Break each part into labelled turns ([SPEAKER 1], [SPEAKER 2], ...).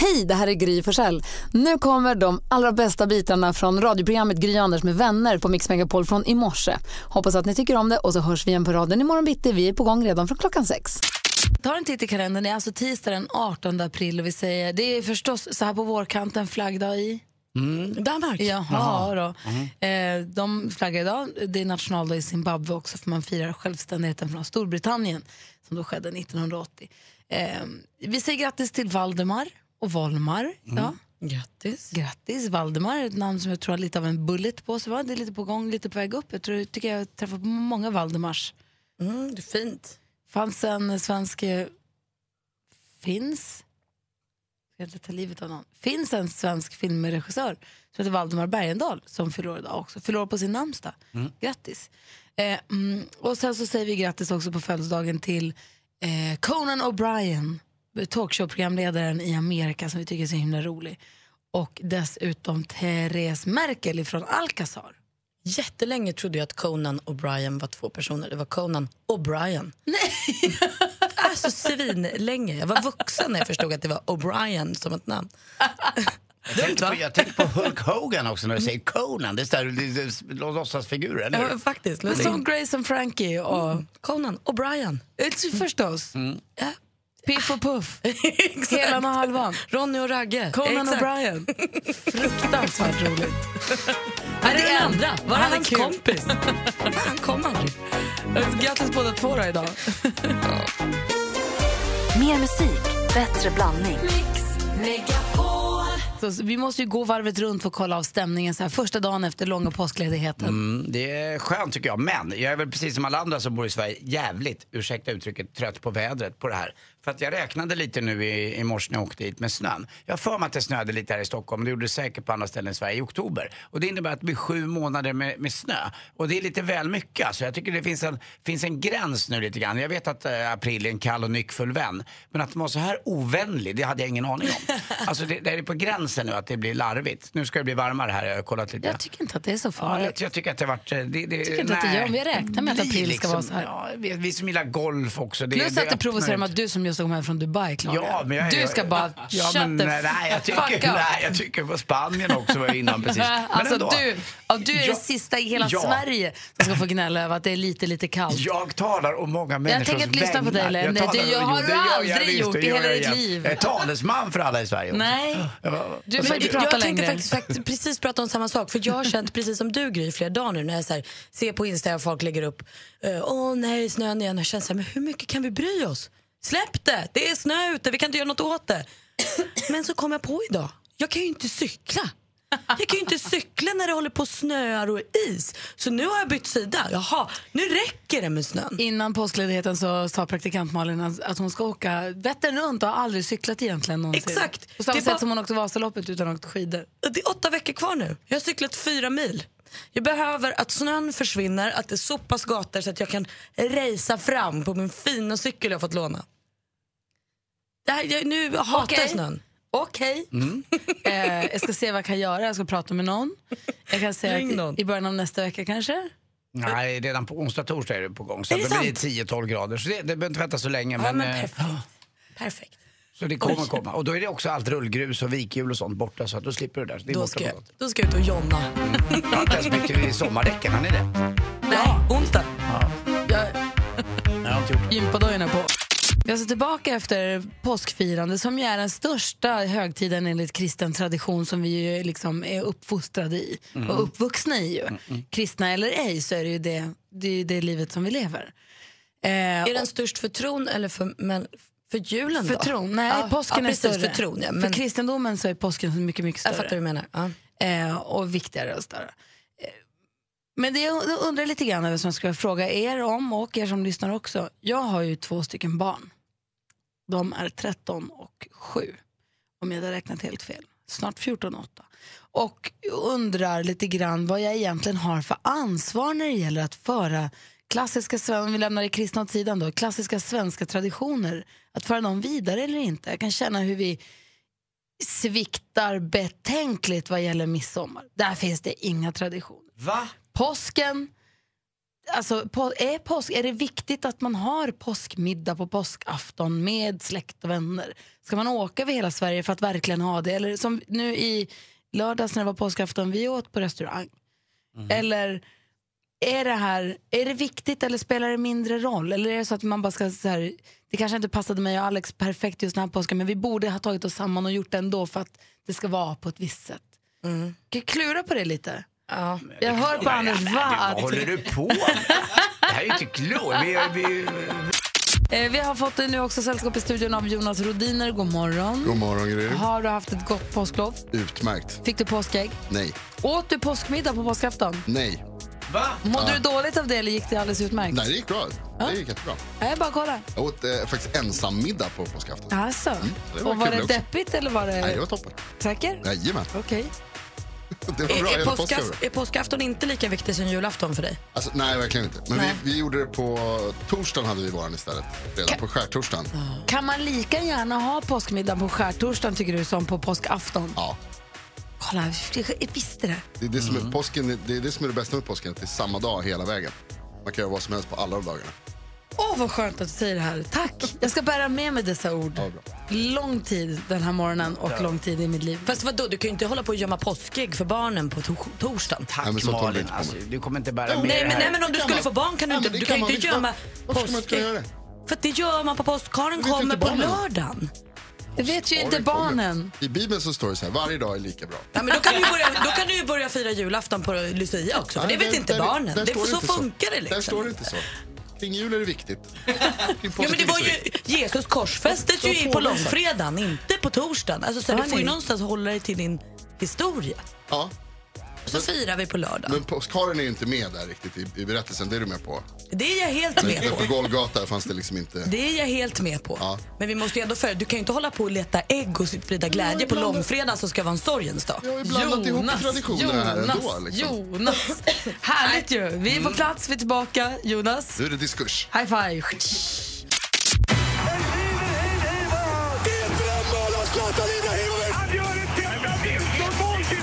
[SPEAKER 1] Hej, det här är Gry Forssell. Nu kommer de allra bästa bitarna från radioprogrammet Gry Anders med vänner på Mix Megapol från i morse. Hoppas att ni tycker om det och så hörs vi igen på raden imorgon bitti. Vi är på gång redan från klockan sex.
[SPEAKER 2] tar en titt i kalendern. Det är alltså tisdag den 18 april och vi säger, det är förstås så här på vårkanten flaggdag i
[SPEAKER 3] Danmark.
[SPEAKER 2] Jaha, då. Eh, de flaggar idag. Det är nationaldag i Zimbabwe också för man firar självständigheten från Storbritannien som då skedde 1980. Eh, vi säger grattis till Valdemar och Volmar. Ja.
[SPEAKER 3] Grattis.
[SPEAKER 2] Grattis Valdemar, ett namn som jag tror har lite av en bullet på sig. va? Det är lite på gång, lite på väg upp. Jag tror, tycker jag träffar på många Valdemars.
[SPEAKER 3] Mm, det är fint.
[SPEAKER 2] fanns en svensk... eh, Finns? Jag ska inte ta livet av någon. Finns en svensk filmregissör som heter Valdemar Bergendahl som fyller år idag också. Fyller år på sin namnsdag.
[SPEAKER 3] Mm.
[SPEAKER 2] Grattis. Eh, mm, och sen så säger vi grattis också på födelsedagen till eh, Conan O'Brien, talkshow-programledaren i Amerika som vi tycker är så himla rolig. Och dessutom Therese Merkel från Alcazar.
[SPEAKER 3] Jättelänge trodde jag att Conan och Brian var två personer. Det var Conan och Brian.
[SPEAKER 2] Nej!
[SPEAKER 3] Alltså svinlänge. Jag var vuxen när jag förstod att det var O'Brien som ett namn.
[SPEAKER 4] Jag tänker, på, jag tänker på Hulk Hogan också när du säger Conan. Det är sådär, det är låtsasfigurer, eller hur?
[SPEAKER 3] Ja, faktiskt. Men
[SPEAKER 2] Som Grace och Frankie och...
[SPEAKER 3] Mm. Conan och Brian.
[SPEAKER 2] Alltså, Förstås. Ja. Piff och Puff.
[SPEAKER 3] Mm. Exakt.
[SPEAKER 2] Helan och Halvan.
[SPEAKER 3] Ronny och Ragge.
[SPEAKER 2] Conan
[SPEAKER 3] Exakt.
[SPEAKER 2] O'Brien. Fruktansvärt roligt.
[SPEAKER 3] Nej, det är
[SPEAKER 2] Han-
[SPEAKER 3] andra. Var
[SPEAKER 2] han
[SPEAKER 3] han
[SPEAKER 2] är
[SPEAKER 3] hans
[SPEAKER 2] kul.
[SPEAKER 3] kompis? Han kom aldrig.
[SPEAKER 2] Grattis båda två då idag.
[SPEAKER 5] Mer musik, bättre blandning.
[SPEAKER 2] Så, så vi måste ju gå varvet runt för att kolla av stämningen så här första dagen efter långa påskledigheten.
[SPEAKER 4] Mm, det är skönt tycker jag. Men jag är väl precis som alla andra som bor i Sverige jävligt, ursäkta uttrycket, trött på vädret på det här. För att jag räknade lite nu i, i morse när jag åkte hit med snön. Jag har för mig att det snöade lite här i Stockholm, det gjorde det säkert på andra ställen i Sverige i oktober. Och det innebär att det blir sju månader med, med snö. Och det är lite väl mycket alltså. Jag tycker det finns en, finns en gräns nu lite grann. Jag vet att eh, april är en kall och nyckfull vän. Men att den var så här ovänlig, det hade jag ingen aning om. Alltså det, det är på gränsen nu att det blir larvigt. Nu ska det bli varmare här, jag har kollat lite.
[SPEAKER 2] Jag tycker inte att det är så
[SPEAKER 4] Ja, jag,
[SPEAKER 2] farligt.
[SPEAKER 4] jag tycker att det har varit... eh, Det, det,
[SPEAKER 2] tycker inte att det gör, men jag räknar med att
[SPEAKER 4] Det
[SPEAKER 2] april ska vara så här.
[SPEAKER 4] Ja, vi, vi som gillar golf också. Det,
[SPEAKER 2] Plus att det
[SPEAKER 4] öppnar
[SPEAKER 2] provocerar mig
[SPEAKER 4] ut.
[SPEAKER 2] att du som just kom hem från Dubai klarar
[SPEAKER 4] Ja, men jag,
[SPEAKER 2] Du ska bara
[SPEAKER 4] ja,
[SPEAKER 2] shut
[SPEAKER 4] men,
[SPEAKER 2] the
[SPEAKER 4] nej, jag
[SPEAKER 2] fuck
[SPEAKER 4] tycker,
[SPEAKER 2] up.
[SPEAKER 4] nej, jag tycker på Spanien också var jag innan precis. Men
[SPEAKER 2] Alltså
[SPEAKER 4] ändå.
[SPEAKER 2] du, ja, du är den
[SPEAKER 4] Ja.
[SPEAKER 2] sista i hela
[SPEAKER 4] Ja.
[SPEAKER 2] Sverige som ska få gnälla över att det är lite, lite kallt.
[SPEAKER 4] Jag talar om många
[SPEAKER 2] tänker
[SPEAKER 4] människors
[SPEAKER 2] inte lyssna på dig,
[SPEAKER 4] vägnar.
[SPEAKER 2] Lenny.
[SPEAKER 4] talar
[SPEAKER 2] Det
[SPEAKER 4] om-
[SPEAKER 2] gör-
[SPEAKER 4] jo,
[SPEAKER 2] har
[SPEAKER 4] det
[SPEAKER 2] du
[SPEAKER 4] gör jag
[SPEAKER 2] aldrig
[SPEAKER 4] visst,
[SPEAKER 2] gjort i
[SPEAKER 4] gör
[SPEAKER 2] hela
[SPEAKER 4] jag
[SPEAKER 2] ditt
[SPEAKER 4] igen.
[SPEAKER 2] liv.
[SPEAKER 4] Jag är talesman för alla i Sverige. också.
[SPEAKER 2] Nej.
[SPEAKER 4] Ja, vad-
[SPEAKER 2] Du
[SPEAKER 4] vad
[SPEAKER 2] vill
[SPEAKER 4] säger
[SPEAKER 2] inte
[SPEAKER 4] du?
[SPEAKER 2] prata
[SPEAKER 3] jag tänkte
[SPEAKER 2] längre.
[SPEAKER 3] faktiskt, faktiskt precis prata om samma sak. För Jag har känt precis som du Gry i flera dagar nu när jag så här, ser på Insta och folk lägger upp eh, Åh nej, snön igen. Jag känner så här, men hur mycket kan vi bry oss? Släpp det! Det är snö ute, vi kan inte göra något åt det. Men så kom jag på idag, jag kan ju inte cykla. Jag kan ju inte cykla när det håller på och snöar och is. Så nu har jag bytt sida. Jaha, nu räcker det med snön.
[SPEAKER 2] Innan påskledigheten så sa praktikant Malin att- att hon ska åka Vättern runt och har aldrig cyklat egentligen någonsin.
[SPEAKER 3] Exakt.
[SPEAKER 2] På samma
[SPEAKER 3] Det är
[SPEAKER 2] sätt
[SPEAKER 3] bara-
[SPEAKER 2] som hon åkte Vasaloppet utan att åka skidor.
[SPEAKER 3] Det är åtta veckor kvar nu. Jag har cyklat fyra mil. Jag behöver att snön försvinner, att det sopas gator så att jag kan racea fram på min fina cykel jag fått låna. Det här, jag, nu hatar
[SPEAKER 2] Okej.
[SPEAKER 3] jag snön.
[SPEAKER 2] Okej. Eh, jag ska se vad jag kan göra. Jag ska prata med någon. Jag kan säga
[SPEAKER 3] Ring
[SPEAKER 2] att i-
[SPEAKER 3] någon.
[SPEAKER 2] i början av nästa vecka kanske.
[SPEAKER 4] Nej, redan på onsdag, torsdag är det på gång. Så
[SPEAKER 3] Är det
[SPEAKER 4] det blir
[SPEAKER 3] sant?
[SPEAKER 4] 10-12 grader. Så det, det behöver inte vänta så länge.
[SPEAKER 3] Ja, men
[SPEAKER 4] eh,
[SPEAKER 3] perfekt. Perfekt.
[SPEAKER 4] Så det kommer komma. Och då är det också allt rullgrus och vikhjul och sånt borta så att då slipper du det där. Så det är
[SPEAKER 3] Då
[SPEAKER 4] borta
[SPEAKER 3] ska, jag,
[SPEAKER 4] på något.
[SPEAKER 3] då ska jag ut och jonna.
[SPEAKER 4] Ja, inte ens mycket i sommardäcken, har ni det?
[SPEAKER 3] Nej, onsdag.
[SPEAKER 4] Nej, jag har inte gjort det.
[SPEAKER 2] Gympadojorna på. Vi är alltså tillbaka efter påskfirande som ju är den största högtiden enligt kristen tradition som vi ju liksom är uppfostrade i
[SPEAKER 3] Mm.
[SPEAKER 2] och uppvuxna i. Ju. Kristna eller ej så är det ju det, det, är ju det livet som vi lever. Eh,
[SPEAKER 3] Är den störst för tron eller för, men, för julen
[SPEAKER 2] För
[SPEAKER 3] då?
[SPEAKER 2] tron? Nej,
[SPEAKER 3] Ja, ja,
[SPEAKER 2] påsken är
[SPEAKER 3] precis,
[SPEAKER 2] större.
[SPEAKER 3] För tron, ja. Men
[SPEAKER 2] För kristendomen så är påsken så mycket, mycket
[SPEAKER 3] jag fattar
[SPEAKER 2] större.
[SPEAKER 3] vad du menar. Ja.
[SPEAKER 2] eh, och viktigare och större. Eh, Men det jag undrar lite grann över som jag skulle fråga er om och er som lyssnar också. Jag har ju två stycken barn. De är 13 och 7. Om jag inte har räknat helt fel. Snart 14 och 8. Och undrar lite grann vad jag egentligen har för ansvar när det gäller att föra klassiska, sven- om vi lämnar det kristna åt sidan då, klassiska svenska traditioner, att föra dem vidare eller inte. Jag kan känna hur vi sviktar betänkligt vad gäller midsommar. Där finns det inga traditioner.
[SPEAKER 4] Va?
[SPEAKER 2] Påsken, alltså, på, är, påsk, är det viktigt att man har påskmiddag på påskafton med släkt och vänner? Ska man åka över hela Sverige för att verkligen ha det? Eller som nu i lördags när det var påskafton, vi åt på restaurang. Eller är det här är det viktigt eller spelar det mindre roll? Eller är det så att man bara ska så här, det kanske inte passade mig och Alex perfekt just den här påsken men vi borde ha tagit oss samman och gjort det ändå för att det ska vara på ett visst sätt. Kan jag klura på det lite?
[SPEAKER 3] Ja.
[SPEAKER 2] Jag hör på Anders va?
[SPEAKER 4] Vad
[SPEAKER 2] att-
[SPEAKER 4] håller du på med? Det här är ju inte klokt. Vi, vi,
[SPEAKER 2] Eh, vi har fått eh, nu också sällskap i studion av Jonas Rodiner. God morgon.
[SPEAKER 6] God morgon, Gry.
[SPEAKER 2] Har du haft ett gott påsklov?
[SPEAKER 6] Utmärkt.
[SPEAKER 2] Fick du påskägg?
[SPEAKER 6] Nej.
[SPEAKER 2] Åt du påskmiddag på påskafton?
[SPEAKER 6] Nej.
[SPEAKER 4] va?
[SPEAKER 2] Mådde du dåligt av det eller gick det alldeles utmärkt?
[SPEAKER 6] Nej, det gick bra. Det gick jättebra.
[SPEAKER 2] Nej, bara kolla.
[SPEAKER 6] Jag åt eh, faktiskt ensam middag på påskafton.
[SPEAKER 2] Alltså.
[SPEAKER 6] Mm, det var
[SPEAKER 2] och var
[SPEAKER 6] kul
[SPEAKER 2] det
[SPEAKER 6] också.
[SPEAKER 2] deppigt eller var det...
[SPEAKER 6] Nej, det var toppen.
[SPEAKER 2] Säker?
[SPEAKER 6] Jajamän.
[SPEAKER 2] Okej.
[SPEAKER 6] Det var bra.
[SPEAKER 3] Är, är,
[SPEAKER 6] Hela
[SPEAKER 3] påska,
[SPEAKER 6] påsken.
[SPEAKER 3] är påskafton inte lika viktig som julafton för dig?
[SPEAKER 6] Alltså, nej, verkligen inte. Men
[SPEAKER 3] Nej.
[SPEAKER 6] vi, vi gjorde det på torsdagen hade vi våran istället. Redan på skärtorsdagen.
[SPEAKER 2] Kan man lika gärna ha påskmiddag på skärtorsdagen tycker du som på påskafton?
[SPEAKER 6] Ja.
[SPEAKER 2] Kolla, jag visste det.
[SPEAKER 6] Det är det, som
[SPEAKER 3] Mm.
[SPEAKER 6] är, påsken, det är det som är det bästa med påsken, att det är samma dag hela vägen. Man kan göra vad som helst på alla de dagarna.
[SPEAKER 2] Åh, vad skönt att du säger det här. Tack. Jag ska bära med mig dessa ord. Lång tid den här morgonen och lång tid i mitt liv.
[SPEAKER 3] Fast vadå, du kan ju inte hålla på och gömma påskägg för barnen på to- torsdagen.
[SPEAKER 4] Tack
[SPEAKER 6] Nej, men så tar vi
[SPEAKER 4] Malin,
[SPEAKER 6] inte på
[SPEAKER 4] alltså,
[SPEAKER 6] mig.
[SPEAKER 4] du kommer inte bära med
[SPEAKER 3] Nej
[SPEAKER 4] det
[SPEAKER 3] men,
[SPEAKER 4] här.
[SPEAKER 3] nej men om du
[SPEAKER 6] Kan
[SPEAKER 3] skulle
[SPEAKER 6] man-
[SPEAKER 3] få barn kan du
[SPEAKER 6] Ja, men
[SPEAKER 3] inte,
[SPEAKER 6] det
[SPEAKER 3] du
[SPEAKER 6] kan
[SPEAKER 3] kan
[SPEAKER 6] man
[SPEAKER 3] inte
[SPEAKER 6] visst.
[SPEAKER 3] gömma
[SPEAKER 6] Varför ska man inte
[SPEAKER 3] påskägg.
[SPEAKER 6] kunna göra det?
[SPEAKER 3] För att det gör man på påsk. Karen
[SPEAKER 6] vet ju
[SPEAKER 3] kommer
[SPEAKER 6] inte
[SPEAKER 3] på
[SPEAKER 6] barnen.
[SPEAKER 3] lördagen.
[SPEAKER 2] Det vet ju inte
[SPEAKER 6] Oj, kommer.
[SPEAKER 2] barnen.
[SPEAKER 6] I Bibeln så står det så här, varje dag är lika bra.
[SPEAKER 3] Ja, men då, kan du ju börja, då kan du ju börja fira julafton på Lucia också. För det
[SPEAKER 6] Nej,
[SPEAKER 3] vet
[SPEAKER 6] där-
[SPEAKER 3] inte
[SPEAKER 6] där-
[SPEAKER 3] barnen.
[SPEAKER 6] där
[SPEAKER 3] det,
[SPEAKER 6] står
[SPEAKER 3] så
[SPEAKER 6] inte
[SPEAKER 3] funkar det
[SPEAKER 6] Där står det
[SPEAKER 3] liksom.
[SPEAKER 6] inte så. Kring jul är det viktigt. Kring
[SPEAKER 3] Ja,
[SPEAKER 6] påsken
[SPEAKER 3] men det
[SPEAKER 6] är så
[SPEAKER 3] var ju,
[SPEAKER 6] viktigt.
[SPEAKER 3] Jesus korsfästes
[SPEAKER 6] Så
[SPEAKER 3] ju i- på
[SPEAKER 6] pågår det.
[SPEAKER 3] långfredagen, inte på torsdagen. Alltså, så här, du får ju
[SPEAKER 2] Hörni.
[SPEAKER 3] någonstans hålla dig till din historia.
[SPEAKER 6] Ja,
[SPEAKER 3] Och så firar vi på lördagen.
[SPEAKER 6] men påskharen är ju inte med där riktigt i, i berättelsen. Det är du med på.
[SPEAKER 3] Det är jag helt
[SPEAKER 6] Men
[SPEAKER 3] med
[SPEAKER 6] där
[SPEAKER 3] på.
[SPEAKER 6] på Golgata fanns det liksom inte...
[SPEAKER 3] Det är jag helt med på.
[SPEAKER 6] Ja.
[SPEAKER 3] Men vi måste ju ändå följa. Du kan ju inte hålla på och leta ägg och sprida glädje på långfredagen som ska vara en sorgens dag.
[SPEAKER 6] Vi har ju blandat ihop traditionerna här ändå. Liksom.
[SPEAKER 2] Jonas. Härligt ju. Vi
[SPEAKER 4] Mm.
[SPEAKER 2] är på plats, vi är tillbaka. Jonas,
[SPEAKER 6] Nu är det diskurs.
[SPEAKER 2] high five.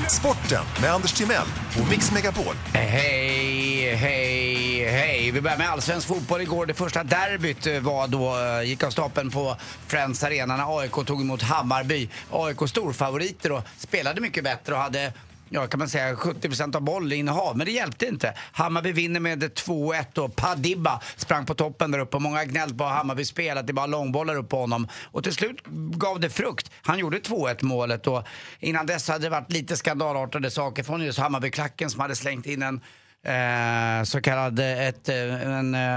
[SPEAKER 7] Sporten med Anders Timell och Mix Megapol.
[SPEAKER 4] Hej, hej, hej. Vi börjar med allsvensk fotboll igår. Det första derbyt eh, var då, eh, gick av stapeln på Friends Arena när AIK tog emot Hammarby. AIK storfavoriter och spelade mycket bättre och hade Ja, kan man säga 70% av bollinnehav, men det hjälpte inte. Hammarby vinner med 2-1 och Padibba sprang på toppen där uppe. Många har gnällt på Hammarbys spel, att det bara långbollar upp på honom. Och till slut gav det frukt. Han gjorde 2-1 målet och innan dess hade det varit lite skandalartade saker från just Hammarbyklacken som hade slängt in en Eh, så kallad eh, ett, eh, en, eh,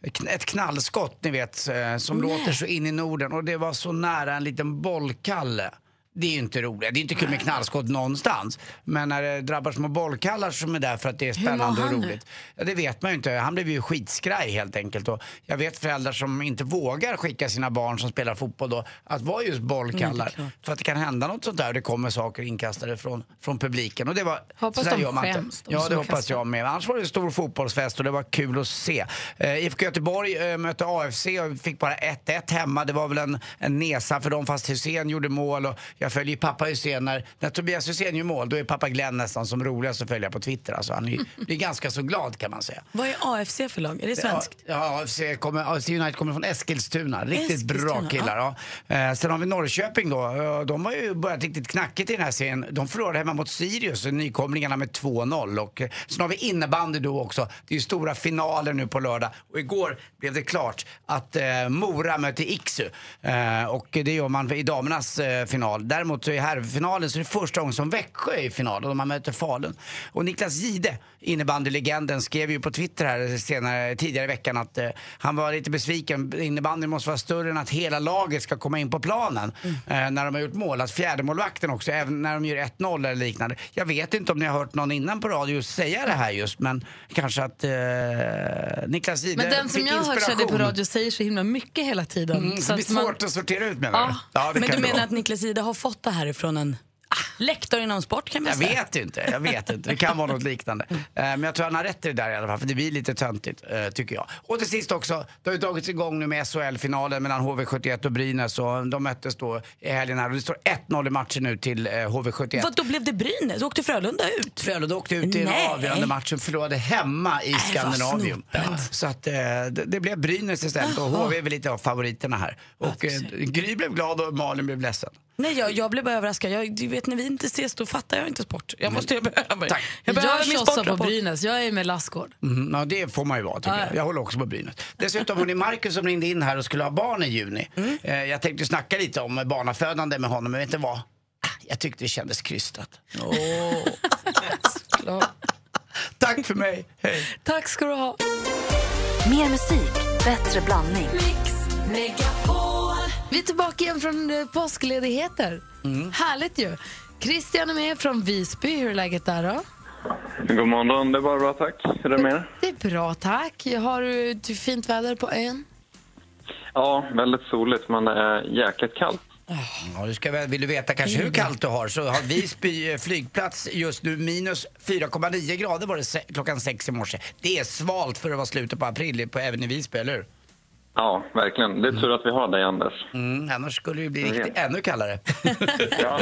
[SPEAKER 4] kn- ett knallskott, ni vet, eh, som låter så in i Norden. Och det var så nära en liten bollkalle. Det är ju inte roligt. Det är inte kul med knallskott någonstans. Men när det drabbar små bollkallar som är där för att det är spännande och
[SPEAKER 2] han nu?
[SPEAKER 4] roligt. Ja, det vet man ju inte. Han blev ju skitskraj helt enkelt. Och jag vet föräldrar som inte vågar skicka sina barn som spelar fotboll då att vara just
[SPEAKER 2] Mm,
[SPEAKER 4] bollkallar. för att det kan hända något sånt där och det kommer saker inkastade från, från publiken. Och det var,
[SPEAKER 2] Hoppas
[SPEAKER 4] så där
[SPEAKER 2] de
[SPEAKER 4] gör man inte.
[SPEAKER 2] skäms, de
[SPEAKER 4] Ja,
[SPEAKER 2] som
[SPEAKER 4] det
[SPEAKER 2] har
[SPEAKER 4] hoppas
[SPEAKER 2] kastat.
[SPEAKER 4] jag med. Annars var det en stor fotbollsfest och det var kul att se. Eh, IFK Göteborg eh, mötte AFC och fick bara 1-1 hemma. Det var väl en, en nesa för dem fast Hussein gjorde mål och jag följer ju pappa Hussein. När, när Tobias Hussein gör mål då är pappa Glenn nästan som roligast att följa på Twitter. Alltså, han är, ju- blir ganska så glad kan man säga.
[SPEAKER 3] Vad är AFC för lag? Är det svenskt?
[SPEAKER 4] Ja, AFC, kommer, AFC United kommer från Eskilstuna. Riktigt bra
[SPEAKER 3] Eskilstuna,
[SPEAKER 4] killar. Ja. Eh, sen har vi Norrköping då. Eh, De har ju börjat riktigt knackigt i den här serien. De förlorade hemma mot Sirius, nykomlingarna med 2-0. Och eh, sen har vi innebandy då också. Det är ju stora finaler nu på lördag. Och igår blev det klart att eh, Mora mötte Iksu. Eh, och det gör man i damernas eh, final. Däremot så i herrfinalen så är det första gången som Växjö är i final och de har möter Falun. Och Niklas Gide, innebandylegenden, skrev ju på Twitter här senare, tidigare i veckan att eh, han var lite besviken. Innebandyn måste vara större än att hela laget ska komma in på planen
[SPEAKER 2] Mm.
[SPEAKER 4] eh, när de har gjort mål. Att fjärdemålvakten också, även när de gör 1-0 eller liknande. Jag vet inte om ni har hört någon innan på radio säga det här just, men kanske att eh, Niklas Gide
[SPEAKER 2] Men den som
[SPEAKER 4] fick
[SPEAKER 2] jag hör körde på
[SPEAKER 4] inspiration.
[SPEAKER 2] radio säger så himla mycket hela tiden.
[SPEAKER 4] Mm, så det blir
[SPEAKER 2] att man-
[SPEAKER 4] svårt att sortera ut menar du?
[SPEAKER 2] Ja.
[SPEAKER 4] Ja, det
[SPEAKER 3] men
[SPEAKER 4] kan
[SPEAKER 3] du
[SPEAKER 4] det
[SPEAKER 3] menar
[SPEAKER 4] vara.
[SPEAKER 3] att Niklas Ida har fått det härifrån en... Ah, Lektor inom sport kan man
[SPEAKER 4] Jag
[SPEAKER 3] säga.
[SPEAKER 4] vet inte, jag vet inte. Det kan vara något liknande. Eh, Men jag tror han har rätt i det där i alla fall, för det blir lite töntigt, eh, tycker jag. Och till sist också, det har ju dragits igång nu med SHL-finalen mellan HV71 och Brynäs och de möttes då i helgen här och det står 1-0 i matchen nu till eh, HV71.
[SPEAKER 3] Vad, då blev det Brynäs? Åkte Frölunda ut?
[SPEAKER 4] Frölunda åkte ut i den
[SPEAKER 3] Nej. Äh,
[SPEAKER 4] avgörande matchen, förlorade hemma i Skandinavium. Så att, eh, det, det blev Brynäs istället och HV är väl lite av favoriterna här. Och eh, Gry blev glad och Malin blev ledsen.
[SPEAKER 3] Nej, jag, jag blev bara överraskad. Jag, du vet, när vi inte ses då fattar jag inte sport. Jag måste, jag behöver.
[SPEAKER 4] Tack.
[SPEAKER 3] Jag behöver
[SPEAKER 2] Jag
[SPEAKER 3] min
[SPEAKER 2] tjossar på
[SPEAKER 3] sportrapport.
[SPEAKER 2] Brynäs, jag är med Lassgård.
[SPEAKER 4] Mm, ja, det får man ju vara tycker
[SPEAKER 2] Ja, ja.
[SPEAKER 4] jag. Jag håller också på Brynäs. Dessutom hon är Marcus som ringde in här och skulle ha barn i juni. Eh, jag tänkte snacka lite om barnafödande med honom, men vet du vad? Ah, Jag tyckte det kändes krystat. Tack för mig, hej!
[SPEAKER 2] Tack ska du ha.
[SPEAKER 5] Mer musik, bättre blandning.
[SPEAKER 1] Vi är tillbaka igen från eh, påskledigheter.
[SPEAKER 2] Mm.
[SPEAKER 1] Härligt ju. Christian är med från Visby. Hur är läget där då?
[SPEAKER 8] God morgon, det är bara bra tack. Hur är det med er?
[SPEAKER 1] Det är bra tack. Har du du, fint väder på ön?
[SPEAKER 8] Ja, väldigt soligt men det är jäkligt kallt.
[SPEAKER 4] Ja, du ska, väl- vill du veta kanske hur kallt du har så har Visby eh, flygplats just nu minus 4,9 grader var det se- klockan sex i morse. Det är svalt för att vara slutet på april i- på, även i Visby, eller hur?
[SPEAKER 8] Ja, verkligen. Det är tur att vi har dig, Anders.
[SPEAKER 4] Mm, annars skulle det ju bli
[SPEAKER 8] Jag
[SPEAKER 4] riktigt,
[SPEAKER 8] vet.
[SPEAKER 4] ännu kallare.
[SPEAKER 8] Ja,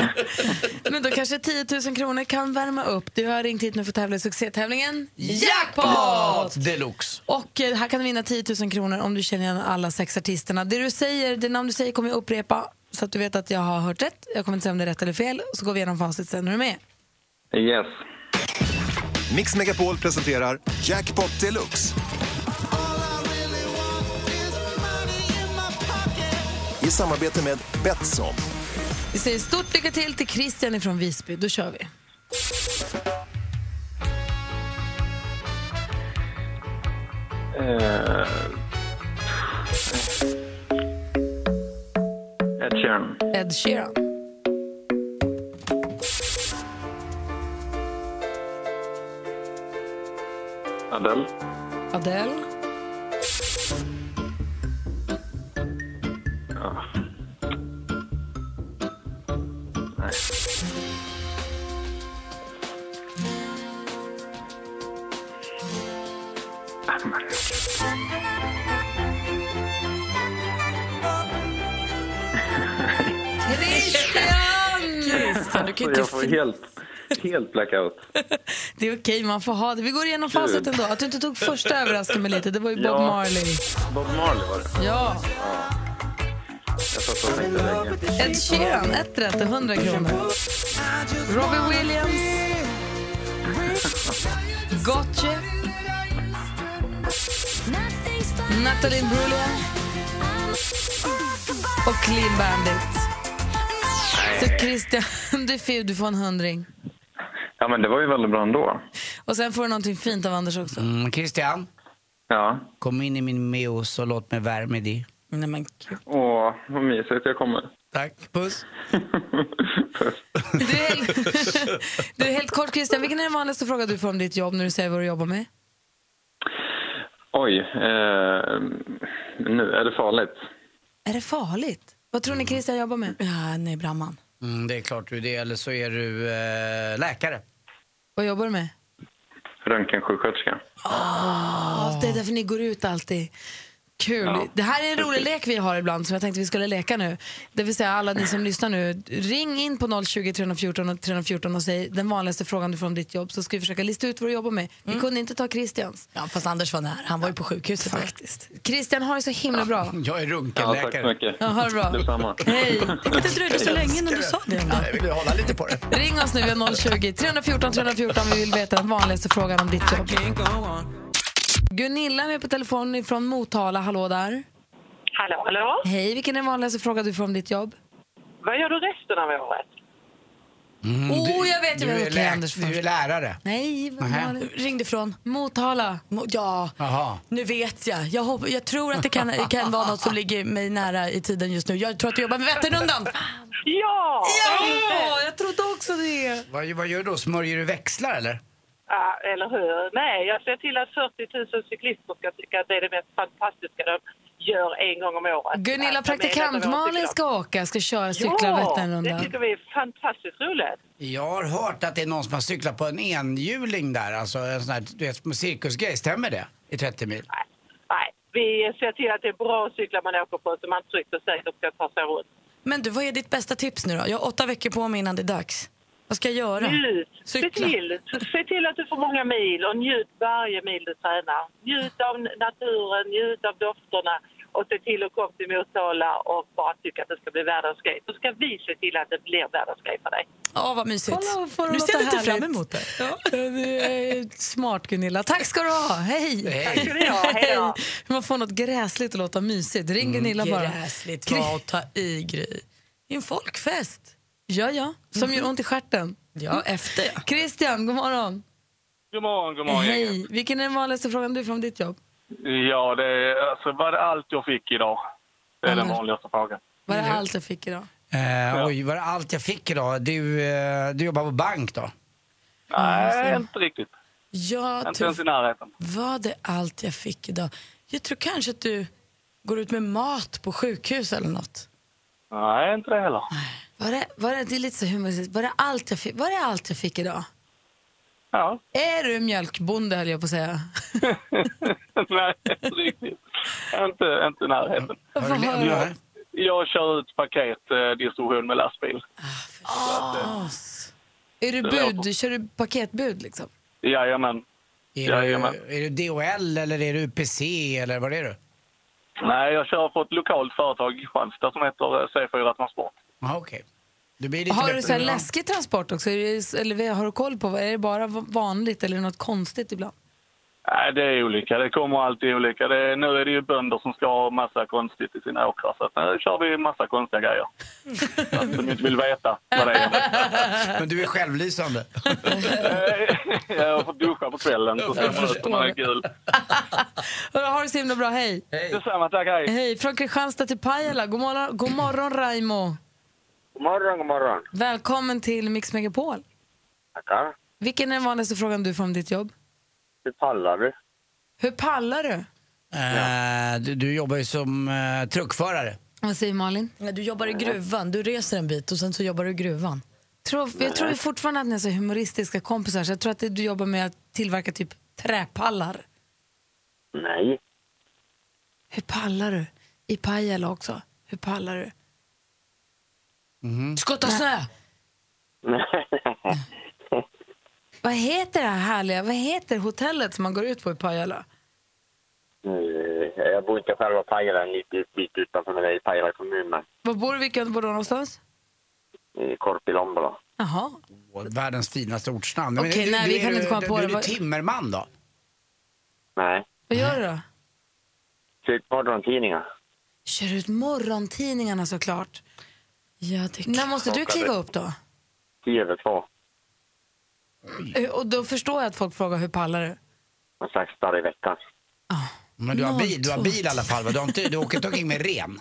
[SPEAKER 2] Men då kanske 10 000 kronor kan värma upp. Du har ringt hit nu för att tävla i succétävlingen
[SPEAKER 4] Jackpot deluxe!
[SPEAKER 2] Och eh, här kan du vinna 10 000 kronor om du känner igen alla sex artisterna. Det du säger, det namn du säger kommer jag upprepa så att du vet att jag har hört rätt. Jag kommer inte säga om det är rätt eller fel. Så går vi igenom facit sen. Är du med?
[SPEAKER 8] yes.
[SPEAKER 7] Mix Megapol presenterar Jackpot Deluxe. I samarbete med Betsson.
[SPEAKER 2] Vi säger stort lycka till till Christian från Visby. Då kör vi.
[SPEAKER 8] Eh, Ed Sheeran.
[SPEAKER 2] Ed Sheeran.
[SPEAKER 8] Adele.
[SPEAKER 2] Adele.
[SPEAKER 8] Ja. Nej.
[SPEAKER 3] Christian, du kan ju
[SPEAKER 8] Jag
[SPEAKER 3] inte...
[SPEAKER 8] får helt, helt blackout.
[SPEAKER 2] Det är okej, man får ha det. Vi går igenom facit ändå. Att du inte tog första överraskade mig lite. Det var ju Bob
[SPEAKER 8] Ja.
[SPEAKER 2] Marley.
[SPEAKER 8] Bob Marley var det.
[SPEAKER 2] Ja.
[SPEAKER 8] Jag satt och tänkte länge.
[SPEAKER 2] Ed Sheeran, ett rätt och 100 kronor. Robbie Williams. Gotye. Natalie Imbruglia. Och Clean Bandit. Så Christian, du får, du får en hundring.
[SPEAKER 8] Ja, men det var ju väldigt bra ändå.
[SPEAKER 2] Och sen får du någonting fint av Anders också.
[SPEAKER 4] Mm, Christian,
[SPEAKER 8] Ja.
[SPEAKER 4] kom in i min meos och låt mig värma dig.
[SPEAKER 3] Nej, men gud.
[SPEAKER 8] Åh, vad mysigt. Jag kommer.
[SPEAKER 4] Tack, puss!
[SPEAKER 8] Puss.
[SPEAKER 2] Du är helt, du är helt kort Christian, vilken är den vanligaste frågan du får om ditt jobb när du säger vad du jobbar med?
[SPEAKER 8] Oj, eh, nu är det farligt.
[SPEAKER 2] Är det farligt? Vad tror ni Christian jobbar med?
[SPEAKER 3] Ja, nej, Bramman.
[SPEAKER 4] Mm, det är klart du är det, eller så är du eh, läkare.
[SPEAKER 2] Vad jobbar du med?
[SPEAKER 8] Röntgensjuksköterska.
[SPEAKER 2] Ja, Ah, det är därför ni går ut alltid. Kul.
[SPEAKER 8] Ja.
[SPEAKER 2] Det här är en rolig lek vi har ibland som jag tänkte vi skulle leka nu. Det vill säga alla ni som lyssnar nu, ring in på 020 314 och 314 och säg den vanligaste frågan du får om ditt jobb så ska vi försöka lista ut vad du jobbar med. Vi kunde inte ta
[SPEAKER 3] Mm.
[SPEAKER 2] Christians.
[SPEAKER 3] Ja, fast Anders var nära. Han var ju på sjukhuset. Faktiskt.
[SPEAKER 2] Christian har det så himla bra.
[SPEAKER 4] Jag
[SPEAKER 8] Ja, tack
[SPEAKER 4] är
[SPEAKER 8] så
[SPEAKER 4] runkenläkare.
[SPEAKER 8] mycket.
[SPEAKER 2] Ja, ha det bra.
[SPEAKER 8] Detsamma.
[SPEAKER 2] Hej!
[SPEAKER 3] Det dröjde så länge innan du sa det. ändå.
[SPEAKER 4] jag vill ju hålla lite på det.
[SPEAKER 2] Ring oss nu, vi har 020 314 314 vi vill veta den vanligaste frågan om ditt jobb. Gunilla är med på telefon från Motala, hallå där.
[SPEAKER 9] Hallå, hallå.
[SPEAKER 2] Hej, vilken är den vanligaste frågan du får om ditt jobb?
[SPEAKER 9] Vad gör du resten av året?
[SPEAKER 2] Åh, oh, jag vet ju
[SPEAKER 4] Du
[SPEAKER 2] vad
[SPEAKER 4] är,
[SPEAKER 2] jag
[SPEAKER 4] lä-
[SPEAKER 2] Anders
[SPEAKER 4] du är
[SPEAKER 2] först.
[SPEAKER 4] lärare.
[SPEAKER 2] Nej, vad
[SPEAKER 4] Nähä.
[SPEAKER 2] var det?
[SPEAKER 3] Ringde från...
[SPEAKER 2] Motala.
[SPEAKER 3] Mo- Ja,
[SPEAKER 4] Jaha.
[SPEAKER 3] nu vet jag. Jag, hopp, jag tror att det kan, det kan vara något som ligger mig nära i tiden just nu. Jag tror att du jobbar med Vätternrundan.
[SPEAKER 9] Ja!
[SPEAKER 2] Ja, jag trodde också det.
[SPEAKER 4] Vad, vad gör du då? Smörjer du växlar eller?
[SPEAKER 9] ja! Eller hur? Nej, jag ser till att 40 000 cyklister ska tycka att det är det mest fantastiska de gör en gång om året.
[SPEAKER 2] Gunilla,
[SPEAKER 9] Att ta med
[SPEAKER 2] praktikant
[SPEAKER 9] detta vi
[SPEAKER 2] Malin
[SPEAKER 9] tycker om.
[SPEAKER 2] ska åka, ska köra
[SPEAKER 9] Ja,
[SPEAKER 2] cykla
[SPEAKER 9] det
[SPEAKER 2] Vätternrundan.
[SPEAKER 9] tycker vi är fantastiskt roligt.
[SPEAKER 4] Jag har hört att det är någon som har cyklat på en enhjuling där, alltså en sån här du vet, cirkusgrej. Stämmer det? I 30 mil?
[SPEAKER 9] Nej, vi ser till att det är bra cyklar man åker på så man tryggt och säkert ska ta sig runt.
[SPEAKER 3] Men du, vad är ditt bästa tips nu då? Jag har åtta veckor på mig innan det är dags. Vad ska jag göra?
[SPEAKER 9] Njut! Se
[SPEAKER 3] Cykla.
[SPEAKER 9] till, se till att du får många mil och njut varje mil du tränar. Njut av naturen, njut av dofterna och se till att komma till Motala och bara tycka att det ska bli världens grej. Så ska vi se till att det blir världens grej för dig.
[SPEAKER 3] Ja, vad mysigt.
[SPEAKER 2] Kolla, vad får det
[SPEAKER 3] nu
[SPEAKER 2] låta
[SPEAKER 3] ser jag lite fram
[SPEAKER 2] härligt.
[SPEAKER 3] emot det.
[SPEAKER 2] Du är smart Gunilla. Tack ska du ha. Hej!
[SPEAKER 3] Hej. Tack ska ni ha. Hej då. Mm,
[SPEAKER 2] Hej. Man får något gräsligt att låta mysigt. Ring Gunilla bara.
[SPEAKER 3] Gräsligt var att ta i Gry. Det är en folkfest. Mhm.
[SPEAKER 2] Ja, ja. Som gör ont i stjärten.
[SPEAKER 3] Ja, efter ja.
[SPEAKER 2] Christian, god morgon.
[SPEAKER 10] God morgon, god morgon
[SPEAKER 2] Hej.
[SPEAKER 10] gänget.
[SPEAKER 2] Vilken är den vanligaste frågan du får om ditt jobb?
[SPEAKER 10] Ja, det är, alltså, var det allt jag fick idag? Det är den
[SPEAKER 8] Mm.
[SPEAKER 10] vanligaste frågan.
[SPEAKER 2] Vad
[SPEAKER 10] Mm.
[SPEAKER 2] är allt jag fick idag?
[SPEAKER 4] Eh, oj, var det allt jag fick idag? Du, eh, du jobbar på bank då?
[SPEAKER 10] Nej, inte riktigt.
[SPEAKER 3] Jag
[SPEAKER 10] Inte
[SPEAKER 3] tror,
[SPEAKER 10] ens i närheten.
[SPEAKER 3] var det allt jag fick idag? Jag tror kanske att du går ut med mat på sjukhus eller något.
[SPEAKER 10] Nej, inte det heller.
[SPEAKER 2] Var det, var det, det är lite så humoristiskt. Var det allt jag fick, var det allt jag fick idag?
[SPEAKER 10] Ja.
[SPEAKER 2] Är du mjölkbonde höll jag på att säga.
[SPEAKER 10] Nej, inte riktigt. Inte, inte i närheten.
[SPEAKER 2] Har du lämnat
[SPEAKER 10] Jag, jag kör ut paketdistribution med lastbil.
[SPEAKER 2] Är du
[SPEAKER 10] Det låter-
[SPEAKER 2] bud? Kör du paketbud liksom?
[SPEAKER 10] Jajamän.
[SPEAKER 4] Är,
[SPEAKER 10] Jajamän.
[SPEAKER 4] du, är du DHL eller är du UPC eller vad är du?
[SPEAKER 10] Nej, jag kör för ett lokalt företag i Kristianstad som heter eh, C4 Transport.
[SPEAKER 4] Ja, okej. Du blir lite
[SPEAKER 2] Har du
[SPEAKER 4] bättre
[SPEAKER 2] så här
[SPEAKER 4] än jag.
[SPEAKER 2] läskig transport också? Är det, eller har du koll på, vad- är det bara vanligt eller är det något konstigt ibland?
[SPEAKER 10] Nej, det är olika. Det kommer alltid olika. Det, nu är det ju bönder som ska ha massa konstigt i sina åkrar. Så att nu kör vi massa konstiga grejer. Så att de inte vill veta vad det är.
[SPEAKER 4] Men du är självlysande.
[SPEAKER 10] Jag får duscha på kvällen så ser man ut som man är kul.
[SPEAKER 2] Hörru, Ha det så himla bra, hej!
[SPEAKER 10] Hej. Detsamma, tack. Hej.
[SPEAKER 2] Hej, från Kristianstad till Pajala. God morgon, god morgon Raimo!
[SPEAKER 8] God morgon, god morgon.
[SPEAKER 2] Välkommen till Mix Megapol.
[SPEAKER 8] Tackar.
[SPEAKER 2] Vilken är den vanligaste frågan du får om ditt jobb?
[SPEAKER 8] Hur pallar du?
[SPEAKER 2] Hur pallar du?
[SPEAKER 4] Eh, du, du jobbar ju som eh, truckförare.
[SPEAKER 2] Vad säger Malin?
[SPEAKER 3] Du jobbar i gruvan, du reser en bit och sen så jobbar du i gruvan.
[SPEAKER 2] Tror, jag tror ju fortfarande att ni är så humoristiska kompisar, så jag tror att det- du jobbar med att tillverka typ träpallar.
[SPEAKER 8] Nej.
[SPEAKER 2] Hur pallar du? I Pajala också. Hur pallar du? Skotta snö! Vad heter det här härliga, vad heter hotellet som man går ut på i Pajala?
[SPEAKER 8] Eh, jag bor inte själva i Pajala, en liten bit utanför men det är i Pajala kommun. Men
[SPEAKER 2] Var bor du, vilken bor du någonstans?
[SPEAKER 8] i Korpilombolo.
[SPEAKER 2] Jaha.
[SPEAKER 4] Åh, Världens finaste ortsnamn. Men
[SPEAKER 2] Okej,
[SPEAKER 4] du-
[SPEAKER 2] nej,
[SPEAKER 4] du-
[SPEAKER 2] vi kan
[SPEAKER 4] du-
[SPEAKER 2] inte komma
[SPEAKER 4] du-
[SPEAKER 2] på
[SPEAKER 4] du-
[SPEAKER 2] det.
[SPEAKER 4] Är
[SPEAKER 2] Vad-
[SPEAKER 4] du timmerman då?
[SPEAKER 8] Nej.
[SPEAKER 2] Vad gör du då?
[SPEAKER 8] Sök morgontidningar.
[SPEAKER 2] Kör ut morgontidningarna såklart. Ja, det När måste du
[SPEAKER 8] Klockan
[SPEAKER 2] kliva
[SPEAKER 8] är-
[SPEAKER 2] upp då?
[SPEAKER 8] Tio över två.
[SPEAKER 2] Eh, Och då förstår jag att folk frågar hur pallar du?
[SPEAKER 8] En slags dag i veckan.
[SPEAKER 4] Men du har bil, du har bil i
[SPEAKER 2] 02.
[SPEAKER 4] alla fall. va? Du, har inte, du åker inte omkring med ren.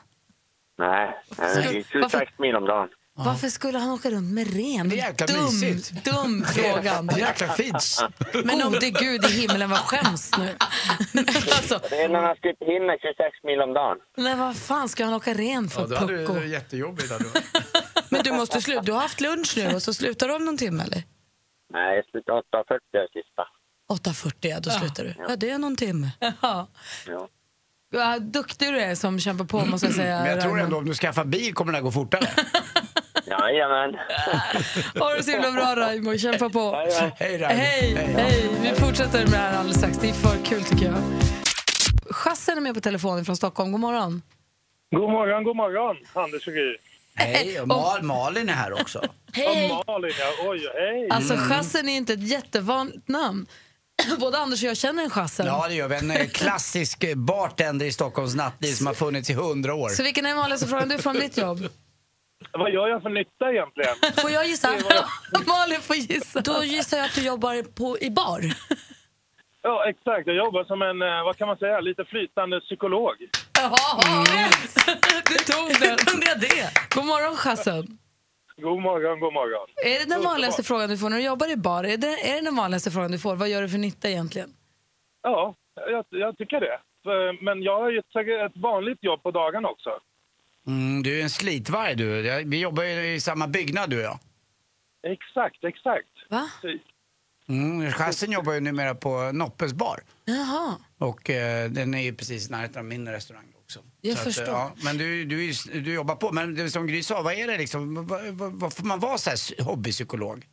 [SPEAKER 8] Nej, eh, 26 mil om dagen.
[SPEAKER 2] Varför skulle han åka runt med ren?
[SPEAKER 4] Det är jäkla
[SPEAKER 2] dum,
[SPEAKER 4] mysigt.
[SPEAKER 2] dum frågan.
[SPEAKER 4] Det är jäkla fint.
[SPEAKER 2] Men om det är Gud i himlen, vad skäms nu.
[SPEAKER 8] Det är när man slipper hinna 26 mil om dagen.
[SPEAKER 2] Nej, vad fan ska han åka ren för, pucko?
[SPEAKER 4] jättejobbigt.
[SPEAKER 3] Men du måste sluta, du har haft lunch nu och så slutar du om någon timme eller?
[SPEAKER 8] Nej, jag slutade 8.40 den sista.
[SPEAKER 3] 8.40 ja, då slutar du. Ja, det är någon timme.
[SPEAKER 2] Ja.
[SPEAKER 8] Ja.
[SPEAKER 2] Vad duktig du är som kämpar på, måste
[SPEAKER 3] Alltså,
[SPEAKER 2] jag säga.
[SPEAKER 4] Men jag tror
[SPEAKER 2] Raimo.
[SPEAKER 4] ändå om du skaffar bil kommer det här gå fortare.
[SPEAKER 8] Jajamän.
[SPEAKER 2] Ha det så himla bra, Raimo. Kämpa på.
[SPEAKER 4] Hej, Raimo.
[SPEAKER 2] Hej, hej. Vi fortsätter med det här alldeles strax. Det är för kul, tycker jag. Chassen är med på telefonen från Stockholm. God morgon.
[SPEAKER 11] God morgon, god morgon, Anders och Gry.
[SPEAKER 4] Hej, och Mal, Malin är här också.
[SPEAKER 2] Hej.
[SPEAKER 11] Och Malin, ja. Oj, hej.
[SPEAKER 2] Alltså, Chassen är inte ett jättevanligt namn. Både Anders och jag känner en Chassen.
[SPEAKER 4] Ja, det gör vi. En eh, klassisk eh, bartender i Stockholms nattliv som har funnits i hundra år.
[SPEAKER 2] Så vilken är den vanligaste frågan du får om ditt jobb?
[SPEAKER 11] Vad gör jag för nytta egentligen?
[SPEAKER 3] Får jag gissa?
[SPEAKER 2] Malin får gissa.
[SPEAKER 3] Då gissar jag att du jobbar på, i bar.
[SPEAKER 11] Ja, exakt. Jag jobbar som en, eh, vad kan man säga, lite flytande psykolog.
[SPEAKER 2] Jaha, du tog den. kunde jag det. God morgon, Chassen.
[SPEAKER 11] God morgon, god morgon.
[SPEAKER 2] Är det den vanligaste frågan du får när du jobbar i bar? Är det, är det den vanligaste frågan du får? Vad gör du för nytta egentligen?
[SPEAKER 11] Ja, jag, jag tycker det.
[SPEAKER 10] eh, men jag har ju säkert ett vanligt jobb på dagen också.
[SPEAKER 4] Mm, du är en slitvarg du. Jag- Vi jobbar ju i samma byggnad du och jag.
[SPEAKER 10] Exakt, exakt.
[SPEAKER 2] Va?
[SPEAKER 4] Mm, Chassen jobbar ju numera på Noppes bar.
[SPEAKER 2] Jaha.
[SPEAKER 4] Och eh, den är ju precis i närheten av min restaurang också.
[SPEAKER 2] Jag
[SPEAKER 4] att,
[SPEAKER 2] förstår.
[SPEAKER 4] eh, men du, du, är ju s- du jobbar på. Men det, som Gry sa, vad är det liksom? Vad, vad, vad får man vara så här s- hobbypsykolog?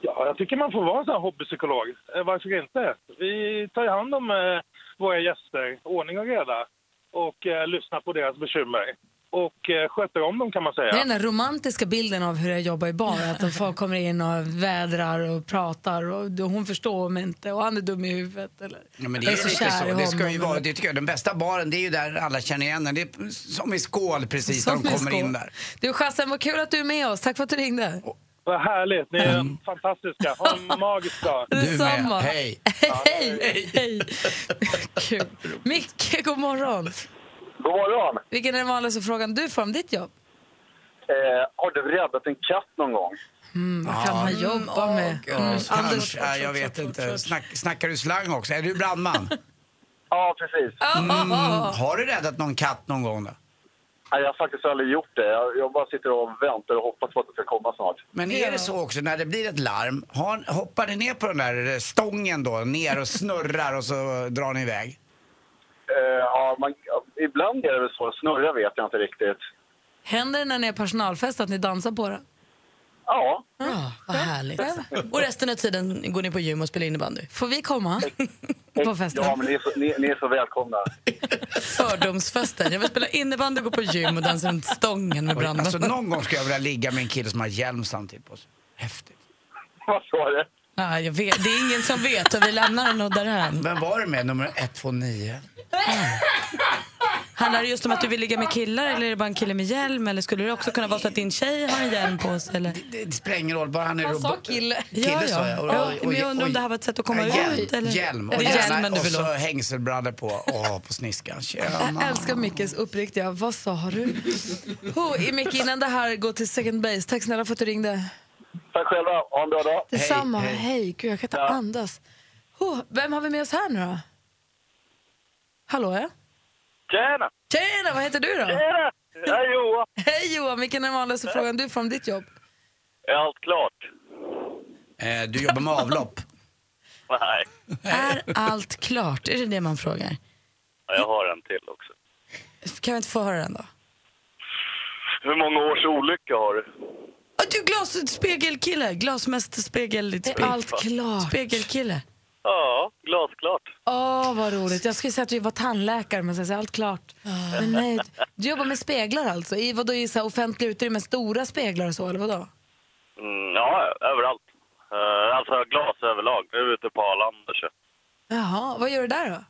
[SPEAKER 10] Ja, jag tycker man får vara en sån här hobbypsykolog. Eh, Varför inte? Vi tar ju hand om eh, våra gäster, ordning och reda, och eh, lyssnar på deras bekymmer. Och eh, sköter om dem kan man säga.
[SPEAKER 2] Det är den där romantiska bilden av hur jag jobbar i bar. Att de folk kommer in och vädrar och pratar och då- hon förstår mig inte och han är dum i huvudet. Eller?
[SPEAKER 4] Ja, men det
[SPEAKER 2] Jag
[SPEAKER 4] är, lite
[SPEAKER 2] kär i
[SPEAKER 4] så. Det ska
[SPEAKER 2] honom,
[SPEAKER 4] ju vara,
[SPEAKER 2] eller-
[SPEAKER 4] det tycker jag, den bästa baren det är ju där alla känner igen den. Det är som i skål precis
[SPEAKER 2] Som
[SPEAKER 4] när
[SPEAKER 2] i
[SPEAKER 4] de kommer
[SPEAKER 2] skål.
[SPEAKER 4] in där.
[SPEAKER 2] Du Chassen, vad kul att du är med oss. Tack för att du ringde.
[SPEAKER 10] Vad härligt, ni är
[SPEAKER 2] Mm.
[SPEAKER 10] fantastiska. Ha en magisk dag.
[SPEAKER 2] Detsamma.
[SPEAKER 4] Hej.
[SPEAKER 2] Hej. Hej. Kul. Micke, god morgon.
[SPEAKER 12] God morgon!
[SPEAKER 2] Vilken är den vanligaste frågan du får om ditt jobb?
[SPEAKER 12] Eh, har du räddat en katt någon gång?
[SPEAKER 2] Mm, vad kan
[SPEAKER 4] Ja.
[SPEAKER 2] man jobba med? Mm,
[SPEAKER 4] Anders, Anders, ja, jag vet inte. Snack, snackar du slang också? Är du brandman?
[SPEAKER 12] Ja, precis.
[SPEAKER 4] Mm, har du räddat någon katt någon gång då?
[SPEAKER 12] Nej, jag har faktiskt aldrig gjort det. Jag, jag bara sitter och väntar och hoppas på att det ska komma snart.
[SPEAKER 4] Men är det så också när det blir ett larm, har, hoppar ni ner på den där eh, stången då, ner och snurrar och så drar ni iväg?
[SPEAKER 12] Eh, ja, man, ja, ibland är det väl så. Snurra vet jag inte riktigt.
[SPEAKER 2] Händer det när ni är personalfest att ni dansar på det?
[SPEAKER 12] Ja.
[SPEAKER 3] Ja, vad härligt. Och resten av tiden går ni på gym och spelar innebandy.
[SPEAKER 2] Får vi komma? På festen?
[SPEAKER 12] Ja, men ni är så, ni, ni är så välkomna.
[SPEAKER 3] Fördomsfesten. Jag vill spela innebandy, gå på gym och dansa runt stången med
[SPEAKER 4] Oj,
[SPEAKER 3] brandmän.
[SPEAKER 4] Alltså någon gång ska jag vilja ligga med en kille som har hjälm typ samtidigt på sig.
[SPEAKER 12] Vad sa du?
[SPEAKER 3] Ja, jag vet. Det är ingen som vet och vi lämnar den och därhän.
[SPEAKER 4] Vem var det med nummer 129?
[SPEAKER 3] Handlar det just om att du vill ligga med killar eller är det bara en kille med hjälm? Eller skulle det också kunna vara så att din tjej har en hjälm på sig? Eller?
[SPEAKER 4] Det spelar ingen roll, bara han är
[SPEAKER 3] Han sa
[SPEAKER 4] robot.
[SPEAKER 3] kille.
[SPEAKER 4] Kille
[SPEAKER 3] Ja,
[SPEAKER 4] sa jag.
[SPEAKER 3] ja.
[SPEAKER 4] Och-
[SPEAKER 3] Ja,
[SPEAKER 4] och- och-
[SPEAKER 3] men jag undrar om
[SPEAKER 4] och-
[SPEAKER 3] det här var ett sätt att komma
[SPEAKER 4] hjälm,
[SPEAKER 3] ut, eller?
[SPEAKER 4] Hjälm och,
[SPEAKER 3] Det är hjälmen du
[SPEAKER 4] och
[SPEAKER 3] vill
[SPEAKER 4] så
[SPEAKER 3] åt.
[SPEAKER 4] hängselbrallor på. Åh, på sniskan.
[SPEAKER 2] Jag
[SPEAKER 4] Tjena.
[SPEAKER 2] älskar Mickes uppriktiga, vad sa du? Oh, Micke, innan det här går till second base, tack snälla för att du ringde.
[SPEAKER 12] Tack själva. Ha en bra dag.
[SPEAKER 2] Detsamma, hej, Gud, jag kan inte andas. Oh, vem har vi med oss här nu då? Hallå ja?
[SPEAKER 10] Tjena!
[SPEAKER 2] Tjena, vad heter du då?
[SPEAKER 10] Tjena! Hej Johan!
[SPEAKER 2] Hej Johan, vilken är den vanligaste frågan du får om ditt jobb?
[SPEAKER 10] Är allt klart?
[SPEAKER 4] Eh, du jobbar med avlopp.
[SPEAKER 10] Nej,
[SPEAKER 3] Är allt klart? Är det det man frågar?
[SPEAKER 10] jag har en till också.
[SPEAKER 3] Kan vi inte få höra den då?
[SPEAKER 10] Hur många års olycka har du?
[SPEAKER 3] Ah, du glasspegelkille, glasmästerspegel...
[SPEAKER 2] Det är allt klart.
[SPEAKER 3] Spegelkille.
[SPEAKER 10] Ja, glasklart.
[SPEAKER 2] Åh, vad roligt. Jag skulle säga att du var tandläkare, men sen så är allt klart. Men nej, du jobbar med speglar alltså? I, vadå, i så här offentliga utrymmen, stora speglar och så, eller vadå?
[SPEAKER 10] Mm, ja, överallt. Eh, alltså glas överlag. Nu är vi ute på Arlanda. så.
[SPEAKER 2] Jaha, vad gör du där då?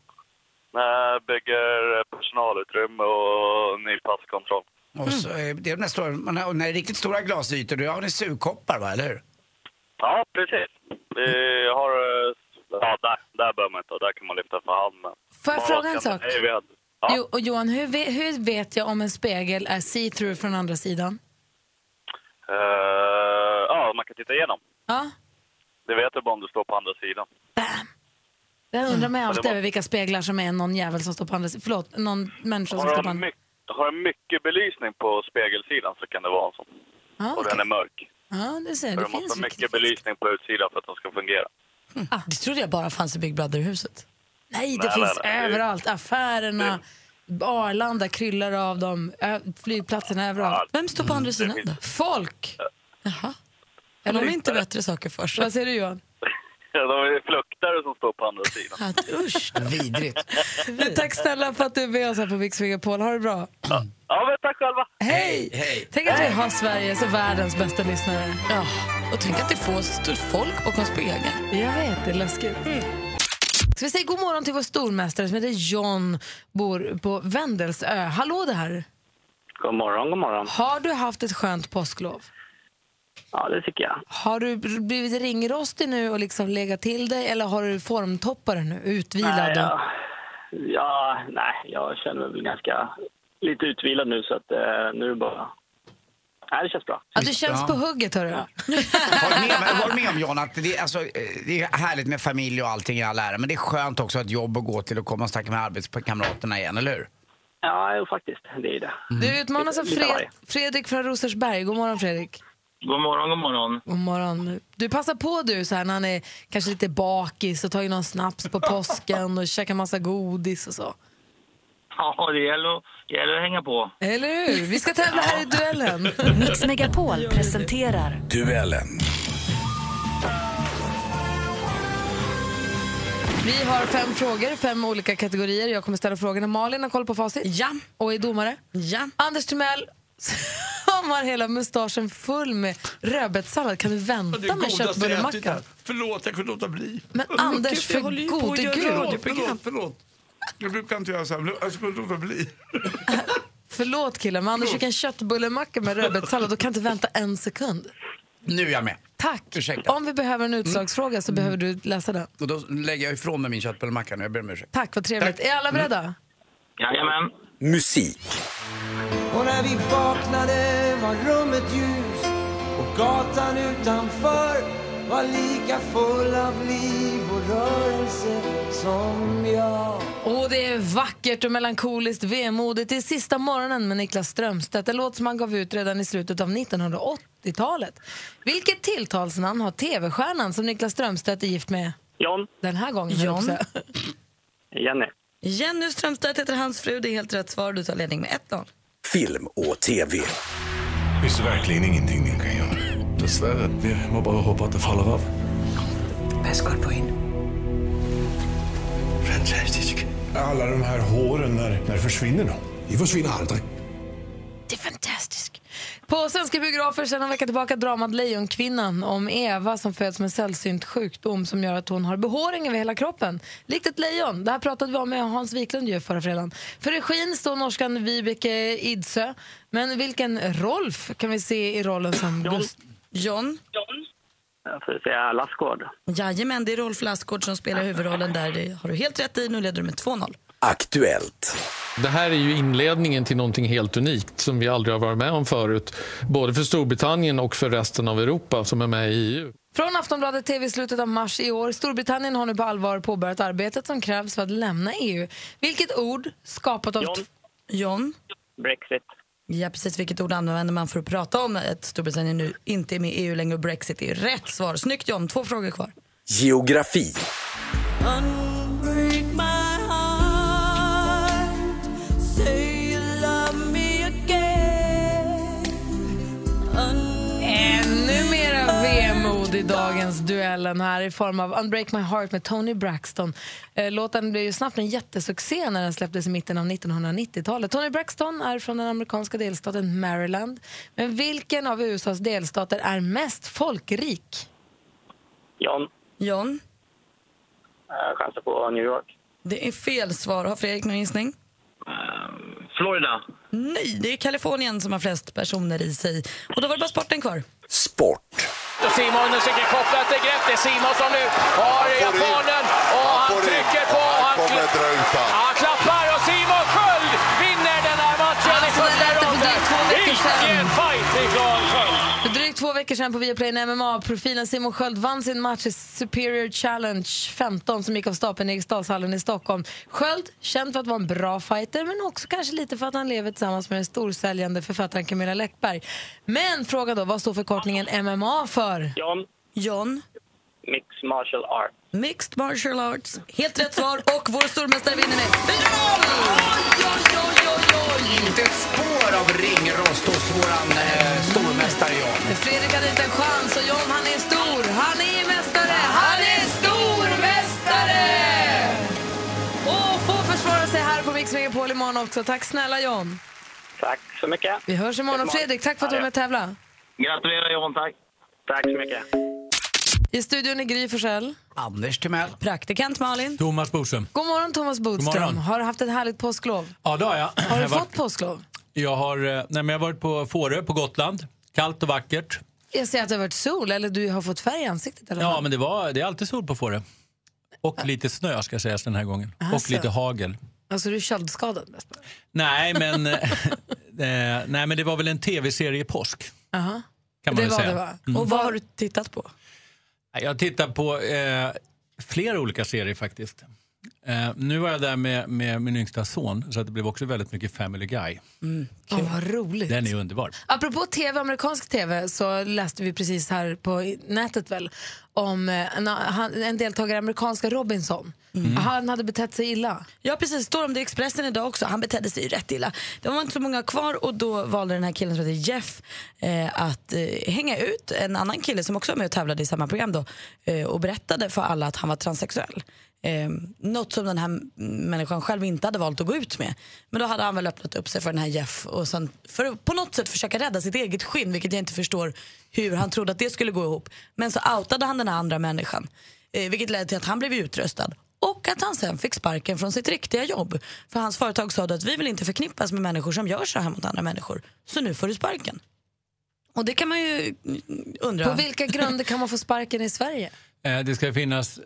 [SPEAKER 10] Eh, bygger personalutrymme och ny passkontroll.
[SPEAKER 4] Och så,
[SPEAKER 3] Mm.
[SPEAKER 4] eh, det är nästa år, man har, när det är riktigt stora glasytor, då har ni sugkoppar va, eller hur?
[SPEAKER 10] Ja, precis. Vi har... eh, Ja, där, där behöver man inte. Där kan man lyfta för hand. men-
[SPEAKER 2] Får jag fråga en
[SPEAKER 10] Ja,
[SPEAKER 2] sak?
[SPEAKER 10] nej, vi hade- Ja.
[SPEAKER 2] Jo, och Johan, hur, ve- hur vet jag om en spegel är see-through från andra sidan?
[SPEAKER 10] Eh, ja, man kan titta igenom.
[SPEAKER 2] Ja,
[SPEAKER 10] Det vet du bara om du står på andra sidan.
[SPEAKER 2] jag undrar mig
[SPEAKER 10] Mm. Ja, det
[SPEAKER 2] alltid
[SPEAKER 10] var-
[SPEAKER 2] över vilka speglar som är någon jävel som står på andra sidan. Förlåt, någon människa som står
[SPEAKER 10] Har
[SPEAKER 2] på
[SPEAKER 10] de,
[SPEAKER 2] andra
[SPEAKER 10] mycket, har de mycket belysning på spegelsidan så kan det vara en sån.
[SPEAKER 2] Ja,
[SPEAKER 10] Och den är mörk.
[SPEAKER 2] ja det ser jag.
[SPEAKER 10] Så
[SPEAKER 2] Det
[SPEAKER 10] de måste
[SPEAKER 2] finns
[SPEAKER 10] ha mycket belysning på utsidan för att de ska fungera.
[SPEAKER 3] Det trodde jag bara fanns i Big Brother-huset.
[SPEAKER 2] Ah. Nej, det
[SPEAKER 10] Nej,
[SPEAKER 2] finns
[SPEAKER 10] nej, nej.
[SPEAKER 2] överallt. Affärerna, Arlanda kryllar av dem, ö- flygplatserna överallt.
[SPEAKER 3] Vem står på andra sidan då?
[SPEAKER 2] Folk!
[SPEAKER 3] Jaha. Har de inte bättre saker för sig?
[SPEAKER 2] Vad säger du Johan?
[SPEAKER 10] Ja, de är fluktare som står på andra sidan.
[SPEAKER 3] Att, usch.
[SPEAKER 4] Vidrigt.
[SPEAKER 2] Du, tack snälla för att du är med oss här på Mix Megapol. Ha det bra.
[SPEAKER 10] Ja, men tack själva.
[SPEAKER 2] Hej!
[SPEAKER 4] Hej!
[SPEAKER 2] Tänk att vi har Sveriges och världens bästa lyssnare.
[SPEAKER 3] Ja, och tänk att det får stort folk bakom spegeln. Mm.
[SPEAKER 2] Jag vet, det är läskigt. Ska vi säga god morgon till vår stormästare som heter John, bor på Vendelsö. Hallå där!
[SPEAKER 13] God morgon, god morgon.
[SPEAKER 2] Har du haft ett skönt påsklov?
[SPEAKER 13] Ja, det tycker jag.
[SPEAKER 2] Har du blivit ringrostig nu och liksom legat till dig eller har du formtoppar nu, utvilad?
[SPEAKER 13] Nej,
[SPEAKER 2] och-
[SPEAKER 13] jag, ja, nej, jag känner mig väl ganska lite utvilad nu så att eh, nu är det bara Nej, det känns bra.
[SPEAKER 2] Ja, du känns på hugget, hörru. då.
[SPEAKER 4] Håll med, men håll med om John att det, är- alltså, eh, det är härligt med familj och allting i all ära, men det är skönt också att jobb att gå till och komma och snacka med arbetskamraterna igen, eller hur?
[SPEAKER 13] Ja, jo, faktiskt. Det är det.
[SPEAKER 2] Du utmanas av
[SPEAKER 13] Lite- lite
[SPEAKER 2] Fred
[SPEAKER 13] arg.
[SPEAKER 2] Fredrik från Rosersberg. God morgon, Fredrik.
[SPEAKER 14] God morgon, god morgon.
[SPEAKER 2] God morgon. Du passar på du så här när han är kanske lite bakis och tar ju någon snaps på påsken och käkar massa godis och så.
[SPEAKER 14] Ja, det gäller, att- det gäller att hänga på.
[SPEAKER 2] Eller hur? Vi ska tävla här i duellen.
[SPEAKER 5] Mix Megapol presenterar
[SPEAKER 15] Duellen.
[SPEAKER 2] Vi har fem frågor, fem olika kategorier. Jag kommer ställa frågorna. Malin har koll på facit. Ja. Och är domare. Ja. Anders Timell som har hela mustaschen full med rödbetssallad. Kan du vänta med köttbullemackan?
[SPEAKER 16] Förlåt, jag kunde låta bli.
[SPEAKER 2] Men Anders, för gode gud.
[SPEAKER 16] Förlåt, förlåt. Jag brukar inte göra så här, men jag skulle låta bli.
[SPEAKER 2] Förlåt killen, men Anders fick en köttbullemacka med rödbetssallad och kan inte vänta en sekund.
[SPEAKER 4] Nu är jag med.
[SPEAKER 2] Tack.
[SPEAKER 4] Ursäkta.
[SPEAKER 2] Om vi behöver en utslagsfråga så behöver du läsa den.
[SPEAKER 4] Och då lägger jag ifrån mig min köttbullemacka nu, jag ber om ursäkt.
[SPEAKER 2] Tack, Mm. vad trevligt. Är alla beredda?
[SPEAKER 4] Jajamän. Musik.
[SPEAKER 17] Och när vi vaknade var rummet ljust och gatan utanför var lika full av liv och rörelse som jag.
[SPEAKER 2] Och det är vackert och melankoliskt vemodigt. Det är sista morgonen med Niklas Strömstedt. En låt som han gav ut redan i slutet av 1980-talet. Vilket tilltalsnamn har tv-stjärnan som Niklas Strömstedt är gift med?
[SPEAKER 13] John.
[SPEAKER 2] Den här gången, höll jag
[SPEAKER 3] John.
[SPEAKER 2] på att säga.
[SPEAKER 13] Jenny.
[SPEAKER 3] Jenny Strömstedt heter hans fru. Det är helt rätt svar. Du tar ledning med 1-0.
[SPEAKER 15] Film och TV. Det finns verkligen ingenting ni kan göra. Dessvärre. Vi må bara hoppas att det faller av.
[SPEAKER 17] Bäst koll på in.
[SPEAKER 15] Fantastisk. Alla de här håren, när, när försvinner de? De försvinner aldrig.
[SPEAKER 2] Det är fantastiskt. På svenska biografer sedan en vecka tillbaka dramat Lejonkvinnan om Eva som föds med sällsynt sjukdom som gör att hon har behåring över hela kroppen. Likt ett lejon. Det här pratade vi om med Hans Wiklund ju förra fredagen. För regin står norskan Vibeke Idsö. Men vilken Rolf kan vi se i rollen som Gust-
[SPEAKER 3] John.
[SPEAKER 13] Jag får säga Lassgård.
[SPEAKER 3] Jajamän, det är Rolf Lassgård som spelar huvudrollen där. Det har du helt rätt i. Nu leder du med 2-0.
[SPEAKER 18] Aktuellt. Det här är ju inledningen till någonting helt unikt som vi aldrig har varit med om förut. Både för Storbritannien och för resten av Europa som är med i E EU.
[SPEAKER 2] Från Aftonbladet TV i slutet av mars i år. Storbritannien har nu på allvar påbörjat arbetet som krävs för att lämna EU. Vilket ord skapat av...
[SPEAKER 3] John. John.
[SPEAKER 13] Brexit.
[SPEAKER 3] Ja, precis. Vilket ord använder man för att prata om att Storbritannien nu inte är med i EU längre och Brexit är rätt svar. Snyggt John, två frågor kvar.
[SPEAKER 15] Geografi.
[SPEAKER 17] Break my heart. Say you love me again.
[SPEAKER 2] Ännu mera vemod i dagens duellen här i form av Unbreak My Heart med Tony Braxton. Eh, Låten blev ju snabbt en jättesuccé när den släpptes i mitten av 1990-talet. Tony Braxton är från den amerikanska delstaten Maryland. Men vilken av USAs delstater är mest folkrik?
[SPEAKER 13] John.
[SPEAKER 3] John,
[SPEAKER 13] Jag chansar på New York.
[SPEAKER 3] det är fel svar. Har Fredrik någon gissning?
[SPEAKER 13] Florida.
[SPEAKER 3] Nej, det är Kalifornien som har flest personer i sig. Och då var det bara sporten kvar.
[SPEAKER 15] Sport.
[SPEAKER 19] Simon försöker koppla ett grepp. Det är Simon som nu har japanen och han trycker på. och Han, kla- han klappar och Simon Sköld vinner den här matchen i första ronden. Vilken fight ifrån Sköld!
[SPEAKER 2] För drygt två veckor sedan på Viaplay när MMA-profilen Simon Sköld vann sin match i Superior Challenge 15 som gick av stapeln i Eriksdalshallen i Stockholm. Sköld, känd för att vara en bra fighter men också kanske lite för att han lever tillsammans med den storsäljande författaren Camilla Läckberg. Men fråga då, vad står förkortningen MMA för?
[SPEAKER 13] John.
[SPEAKER 3] John.
[SPEAKER 13] Mix Martial Arts.
[SPEAKER 3] Mixed martial arts. Helt rätt svar och vår stormästare vinner med 4-0!
[SPEAKER 4] Inte ett spår av ringrost hos våran eh, stormästare John.
[SPEAKER 2] Fredrik hade inte en chans och John han är stor. Han är mästare! Han är stormästare! Och får försvara sig här på Mix Megapol imorgon också. Tack snälla John.
[SPEAKER 13] Tack så mycket.
[SPEAKER 2] Vi hörs imorgon. Och Fredrik, tack för att du var med och tävlade.
[SPEAKER 13] Gratulerar John, tack. Tack så mycket.
[SPEAKER 2] I studion är Gry Forssell.
[SPEAKER 4] Anders Timell.
[SPEAKER 2] Praktikant Malin.
[SPEAKER 20] Thomas Bodström.
[SPEAKER 2] God morgon Thomas Bodström.
[SPEAKER 20] God morgon.
[SPEAKER 2] Har du haft ett härligt påsklov?
[SPEAKER 20] Ja, det har jag.
[SPEAKER 2] Har du
[SPEAKER 20] jag, har varit,
[SPEAKER 2] fått påsklov?
[SPEAKER 20] jag, har, eh, nej, men jag har varit på Fårö på Gotland. Kallt och vackert.
[SPEAKER 2] Jag ser att det har varit sol, eller du har fått färg i ansiktet eller
[SPEAKER 20] Ja, men det, var, det är alltid sol på Fårö. Och lite snö ska sägas den här gången. Och
[SPEAKER 2] Alltså.
[SPEAKER 20] lite hagel.
[SPEAKER 2] Alltså du är köldskadad. mest.
[SPEAKER 20] Nej men, eh, eh, nej, men det var väl en tv-serie påsk.
[SPEAKER 2] Aha.
[SPEAKER 20] Kan man
[SPEAKER 2] det
[SPEAKER 20] väl
[SPEAKER 2] var
[SPEAKER 20] säga.
[SPEAKER 2] det va?
[SPEAKER 20] Mm.
[SPEAKER 2] Och vad har du tittat på?
[SPEAKER 20] Jag tittar på eh, flera olika serier faktiskt. Eh, nu var jag där med, med min yngsta son så att det blev också väldigt mycket Family Guy.
[SPEAKER 2] Åh, vad roligt.
[SPEAKER 20] Den är underbar.
[SPEAKER 2] Apropå tv, amerikansk tv, så läste vi precis här på i- nätet väl om eh, en, han, en deltagare i amerikanska Robinson.
[SPEAKER 3] Mm.
[SPEAKER 2] Han hade betett sig illa.
[SPEAKER 3] Ja precis, står om det i Expressen idag också. Han betedde sig ju rätt illa. Det var inte så många kvar och då valde den här killen som heter Jeff eh, att eh, hänga ut en annan kille som också var med och tävlade i samma program då eh, och berättade för alla att han var transsexuell. Eh, något som den här m- människan själv inte hade valt att gå ut med. Men då hade han väl öppnat upp sig för den här Jeff och sen för att på något sätt försöka rädda sitt eget skinn vilket jag inte förstår hur han trodde att det skulle gå ihop. Men så outade han den här andra människan eh, vilket ledde till att han blev utröstad och att han sen fick sparken från sitt riktiga jobb. För hans företag sa då att vi vill inte förknippas med människor som gör så här mot andra människor. Så nu får du sparken. Och det kan man ju mm, undra.
[SPEAKER 2] På vilka grunder kan man få sparken i Sverige?
[SPEAKER 20] Eh, Det ska, finnas,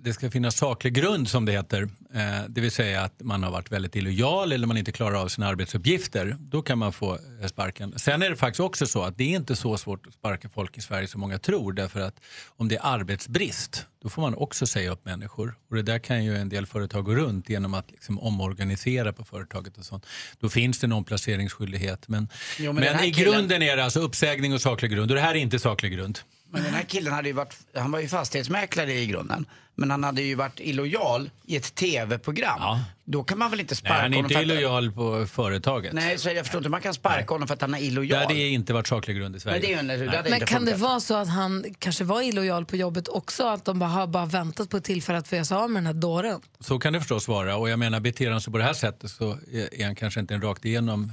[SPEAKER 20] det ska finnas saklig grund som det heter. Eh, Det vill säga att man har varit väldigt illojal eller man inte klarar av sina arbetsuppgifter. Då kan man få eh, sparken. Sen är det faktiskt också så att det är inte så svårt att sparka folk i Sverige som många tror. Därför att om det är arbetsbrist då får man också säga upp människor. Och det där kan ju en del företag gå runt genom att liksom omorganisera på företaget och sånt. Då finns det en omplaceringsskyldighet. Men,
[SPEAKER 4] Jo, men
[SPEAKER 20] men,
[SPEAKER 4] den här
[SPEAKER 20] i
[SPEAKER 4] killen-
[SPEAKER 20] grunden är det alltså uppsägning och saklig grund. Och det här är inte saklig grund.
[SPEAKER 4] Men den här killen hade ju varit, han var ju fastighetsmäklare i grunden. Men han hade ju varit illojal i ett tv-program. Då kan man väl inte
[SPEAKER 20] Nej,
[SPEAKER 4] sparka
[SPEAKER 20] han är
[SPEAKER 4] honom
[SPEAKER 20] inte
[SPEAKER 4] för att...
[SPEAKER 20] illojal på företaget.
[SPEAKER 4] Nej, så jag förstår inte hur man kan sparka honom för att han är
[SPEAKER 20] Där
[SPEAKER 4] illojal.
[SPEAKER 20] hade det inte varit saklig grund i Sverige.
[SPEAKER 4] Men det är ju en- det hade
[SPEAKER 2] Men kan det vara så att han kanske var illojal på jobbet också? Att de bara har bara väntat på ett tillfälle att få göra sig av med den här dåren?
[SPEAKER 20] Så kan det förstås vara. Och jag menar, beter han sig på det här sättet så är är han kanske inte en rakt igenom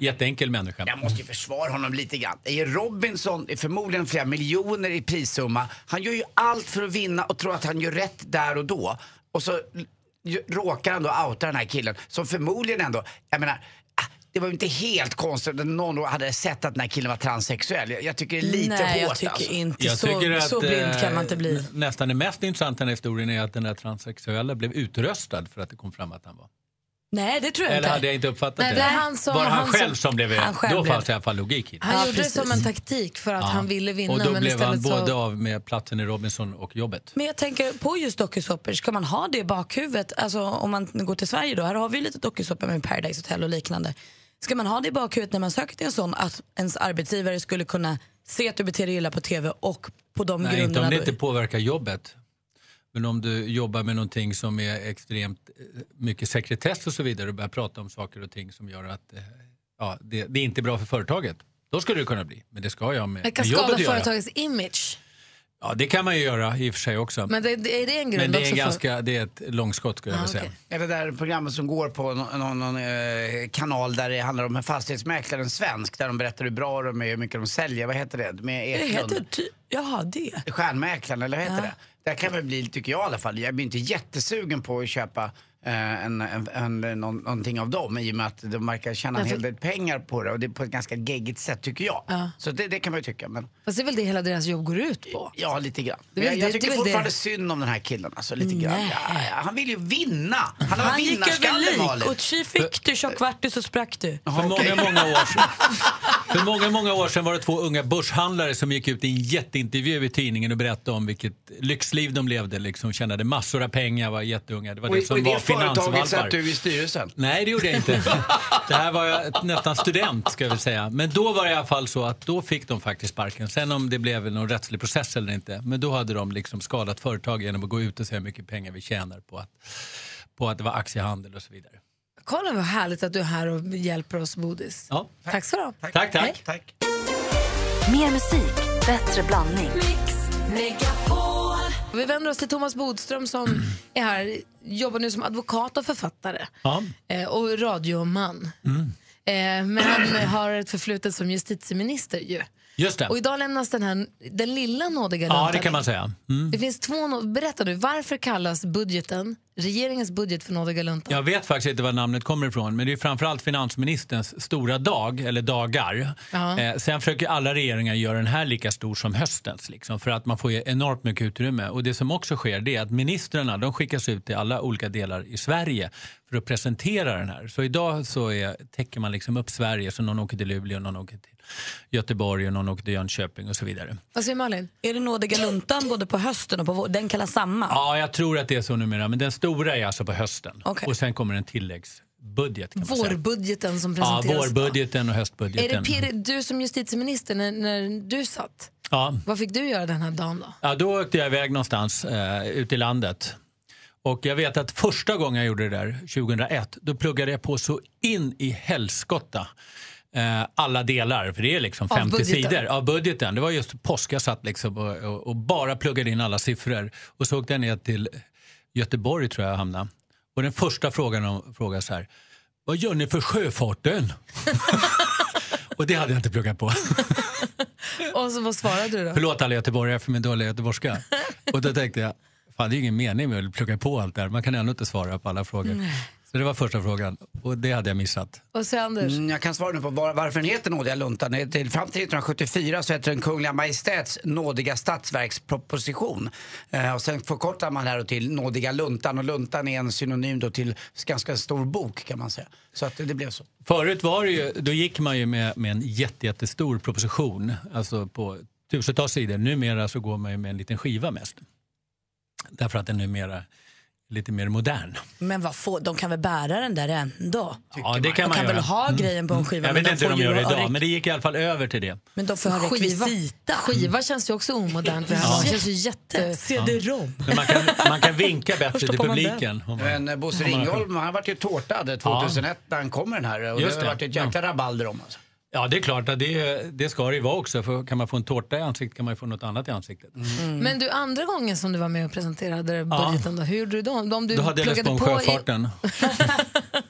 [SPEAKER 20] jätteenkel människa.
[SPEAKER 4] Jag måste ju försvara honom lite grann. I Robinson är förmodligen flera miljoner i prissumma. Han gör ju allt för att vinna och tror att han gör rätt där och då. Och så ju- råkar han då outa den här killen som förmodligen ändå, jag menar, ah, det var ju inte helt konstigt att någon då hade sett att den här killen var transsexuell. Jag, jag tycker det är lite
[SPEAKER 3] Nej,
[SPEAKER 4] hårt
[SPEAKER 3] jag tycker
[SPEAKER 4] alltså.
[SPEAKER 3] inte så- så blind kan man inte bli.
[SPEAKER 20] nä- eh, Nästan det mest intressanta i den här historien är att den där transsexuella blev utröstad för att det kom fram att han var.
[SPEAKER 3] Nej, det tror jag
[SPEAKER 20] Eller
[SPEAKER 3] inte.
[SPEAKER 20] hade jag inte uppfattat
[SPEAKER 2] Nej,
[SPEAKER 20] det?
[SPEAKER 2] det är han som-
[SPEAKER 20] var det han,
[SPEAKER 2] han som-
[SPEAKER 20] själv som blev
[SPEAKER 2] han själv
[SPEAKER 20] Då
[SPEAKER 2] blev-
[SPEAKER 20] fanns det i alla fall logik i det.
[SPEAKER 2] Han gjorde det som en taktik för att
[SPEAKER 20] Ja.
[SPEAKER 2] han ville vinna.
[SPEAKER 20] Och då
[SPEAKER 2] men
[SPEAKER 20] blev
[SPEAKER 2] istället
[SPEAKER 20] han både
[SPEAKER 2] så...
[SPEAKER 20] av med platsen i Robinson och jobbet.
[SPEAKER 3] Men jag tänker på just dokusåpor, ska man ha det i bakhuvudet? Alltså om man går till Sverige då, här har vi ju lite dokusåpor med Paradise Hotel och liknande. Ska man ha det i bakhuvudet när man söker till en sån att ens arbetsgivare skulle kunna se att du beter dig illa på TV och på de
[SPEAKER 20] Nej, inte
[SPEAKER 3] grunderna
[SPEAKER 20] om det
[SPEAKER 3] då-
[SPEAKER 20] inte påverkar jobbet. Men om du jobbar med någonting som är extremt eh, mycket sekretess och så vidare och börjar prata om saker och ting som gör att eh, ja, det, det är inte bra för företaget. Då skulle det kunna bli, men det ska jag med,
[SPEAKER 2] Det kan
[SPEAKER 20] med
[SPEAKER 2] skada
[SPEAKER 20] jobbet att göra.
[SPEAKER 2] företagets image.
[SPEAKER 20] Ja, det kan man ju göra i och för sig också.
[SPEAKER 2] Men det, det, är det en grund
[SPEAKER 20] Men det är,
[SPEAKER 2] också
[SPEAKER 20] en
[SPEAKER 2] för-
[SPEAKER 20] ganska, det är ett långskott skulle jag
[SPEAKER 2] Ah,
[SPEAKER 20] vilja säga.
[SPEAKER 2] okej.
[SPEAKER 4] Är det där programmet som går på någon, någon, någon eh, kanal där det handlar om en fastighetsmäklare, en svensk, där de berättar hur bra de är och hur mycket de säljer. Vad heter det? Med
[SPEAKER 3] Det
[SPEAKER 4] Eklund.
[SPEAKER 3] heter ty- Jaha, det.
[SPEAKER 4] Stjärnmäklaren, eller vad heter det? Där kan man bli, tycker jag i alla fall, jag blir inte jättesugen på att köpa eh, en, en, en, någon, någonting av dem i och med att de verkar tjäna en
[SPEAKER 2] Därför-
[SPEAKER 4] hel del pengar på det och det är på ett ganska geggigt sätt tycker jag. Så det, det kan man ju tycka. Men
[SPEAKER 2] Fast det är väl det hela deras jobb går ut på?
[SPEAKER 4] ja, lite grann.
[SPEAKER 2] Det är väl
[SPEAKER 4] jag, jag
[SPEAKER 2] det- det är
[SPEAKER 4] tycker
[SPEAKER 2] väl
[SPEAKER 4] fortfarande
[SPEAKER 2] det.
[SPEAKER 4] synd om den här killen. Alltså, lite grann.
[SPEAKER 3] Nej.
[SPEAKER 4] Ja, ja, han vill ju vinna! Han har
[SPEAKER 3] Han gick över
[SPEAKER 4] vinnarskallen
[SPEAKER 3] lik
[SPEAKER 4] Malin.
[SPEAKER 3] och tji fick du, tjockvartis och sprack du.
[SPEAKER 20] För många, många år sedan. För många, många år sedan var det två unga börshandlare som gick ut i en jätteintervju i tidningen och berättade om vilket lyxliv de levde. Liksom, tjänade massor av pengar, var jätteunga. Det var
[SPEAKER 4] Och i-
[SPEAKER 20] det som
[SPEAKER 4] och i det
[SPEAKER 20] var
[SPEAKER 4] företaget
[SPEAKER 20] finansvalpar.
[SPEAKER 4] satt du i styrelsen?
[SPEAKER 20] Nej, det gjorde jag inte. Det här var jag nästan student, ska jag väl säga. Men då var det i alla fall så att då fick de faktiskt sparken. Sen om det blev någon rättslig process eller inte, men då hade de liksom skadat företag genom att gå ut och säga hur mycket pengar vi tjänar på att, på att det var aktiehandel och så vidare.
[SPEAKER 2] Kolla vad härligt att du är här och hjälper oss bodis.
[SPEAKER 20] Ja.
[SPEAKER 2] Tack så du
[SPEAKER 20] Tack, tack.
[SPEAKER 2] Hej.
[SPEAKER 4] tack.
[SPEAKER 5] Mer musik, bättre blandning.
[SPEAKER 2] Och Vi vänder oss till Thomas Bodström som är här, jobbar nu som advokat och författare
[SPEAKER 20] Ja.
[SPEAKER 2] eh, och radioman.
[SPEAKER 20] Mm.
[SPEAKER 2] Eh, men han har ett förflutet som justitieminister ju.
[SPEAKER 20] Just det.
[SPEAKER 2] Och idag lämnas den här, den lilla nådiga
[SPEAKER 20] Ja, det
[SPEAKER 2] luntan
[SPEAKER 20] kan man
[SPEAKER 2] in.
[SPEAKER 20] säga. Mm.
[SPEAKER 2] Det finns två, nå- berätta nu, varför kallas budgeten regeringens budget för nådiga luntan.
[SPEAKER 20] Jag vet faktiskt inte var namnet kommer ifrån, men det är framförallt finansministerns stora dag, eller dagar.
[SPEAKER 2] Ja.
[SPEAKER 20] Eh, sen försöker alla regeringar göra den här lika stor som höstens, liksom, för att man får ju enormt mycket utrymme. Och det som också sker det är att ministrarna de skickas ut till alla olika delar i Sverige för att presentera den här. Så idag så är, täcker man liksom upp Sverige, så någon åker till Luleå, någon åker till Göteborg och någon åker till Jönköping och så vidare.
[SPEAKER 2] Vad säger Malin?
[SPEAKER 3] Är det nådiga luntan både på hösten och på våren? Den kallas samma?
[SPEAKER 20] Ja, jag tror att det är så numera, men den stora är alltså på hösten. Och sen kommer en tilläggsbudget kan man säga.
[SPEAKER 2] Vårbudgeten som
[SPEAKER 20] Ja,
[SPEAKER 2] presenteras.
[SPEAKER 20] vårbudgeten och
[SPEAKER 2] Är
[SPEAKER 20] höstbudgeten.
[SPEAKER 2] det pirr, du som justitieminister, när, när du satt,
[SPEAKER 20] ja.
[SPEAKER 2] vad fick du göra den här dagen då?
[SPEAKER 20] ja, då åkte jag iväg någonstans eh, ute i landet. Och jag vet att första gången jag gjorde det där, 2001, då pluggade jag på så in i helskotta. eh, Alla delar, för det är liksom
[SPEAKER 21] Av
[SPEAKER 20] 50
[SPEAKER 21] budgeten.
[SPEAKER 20] sidor av budgeten. Det var just påsk jag satt liksom och, och, och bara pluggade in alla siffror. Och så åkte jag ner till Göteborg tror jag jag hamnade. Och den första frågan de frågade så här, vad gör ni för sjöfarten? och det hade jag inte pluggat på.
[SPEAKER 2] Och så, vad svarade du då?
[SPEAKER 20] Förlåt alla göteborgare för min dåliga göteborgska. Och då tänkte jag, fan det är ingen mening med att plugga på allt det här. Man kan ändå inte svara på alla frågor.
[SPEAKER 2] Nej.
[SPEAKER 20] Så det var första frågan och det hade jag missat.
[SPEAKER 2] Vad säger Anders?
[SPEAKER 4] Mm, jag kan svara nu på var, varför den heter Nådiga luntan. Det är Till, fram till 1974 så hette den Kungliga Majestäts Nådiga statsverksproposition. Eh, och sen förkortar man här då till Nådiga luntan och luntan är en synonym då till ganska stor bok kan man säga. Så att det, det blev så.
[SPEAKER 20] Förut var det ju, då gick man ju med, med en jätte, jättestor proposition, alltså på tusentals sidor. Numera så går man ju med en liten skiva mest. Därför att den numera är lite mer modern.
[SPEAKER 3] Men vad få, de kan väl bära den där ändå?
[SPEAKER 20] Ja, det kan
[SPEAKER 3] de
[SPEAKER 20] man
[SPEAKER 3] kan
[SPEAKER 20] göra.
[SPEAKER 3] väl ha
[SPEAKER 20] Mm.
[SPEAKER 3] grejen på en skiva?
[SPEAKER 20] Jag
[SPEAKER 3] men
[SPEAKER 20] vet inte hur
[SPEAKER 3] får
[SPEAKER 20] de
[SPEAKER 3] ju
[SPEAKER 20] gör det
[SPEAKER 3] ha
[SPEAKER 20] idag,
[SPEAKER 3] rek-
[SPEAKER 20] men det gick i alla fall över till det.
[SPEAKER 3] Men de får ha
[SPEAKER 2] Skiva.
[SPEAKER 3] rekvisita.
[SPEAKER 2] Skiva känns ju också omodernt. Det här
[SPEAKER 20] Ja.
[SPEAKER 2] Det känns ju jätte...
[SPEAKER 3] CD-ROM.
[SPEAKER 20] Men man, kan, man kan vinka bättre
[SPEAKER 4] Först
[SPEAKER 20] till
[SPEAKER 4] stoppar man
[SPEAKER 20] publiken.
[SPEAKER 4] den.
[SPEAKER 20] om man-
[SPEAKER 4] Men eh, Bosse
[SPEAKER 20] om man har-
[SPEAKER 4] Ringholm, han vart ju tårtad 2001 när han kom med den här. Och
[SPEAKER 20] Just
[SPEAKER 4] det
[SPEAKER 20] det.
[SPEAKER 4] har varit ett jäkla rabalder om. Alltså.
[SPEAKER 20] Ja, det är klart. att Det, det ska det ju vara också. För kan man få en tårta i ansiktet kan man ju få något annat i ansiktet.
[SPEAKER 2] Mm. Men du, andra gången som du var med och presenterade
[SPEAKER 20] Ja.
[SPEAKER 2] budgeten, då, hur gjorde du då? Om du
[SPEAKER 20] Då hade jag läst
[SPEAKER 2] pluggade
[SPEAKER 20] på om
[SPEAKER 2] på i
[SPEAKER 20] sjöfarten.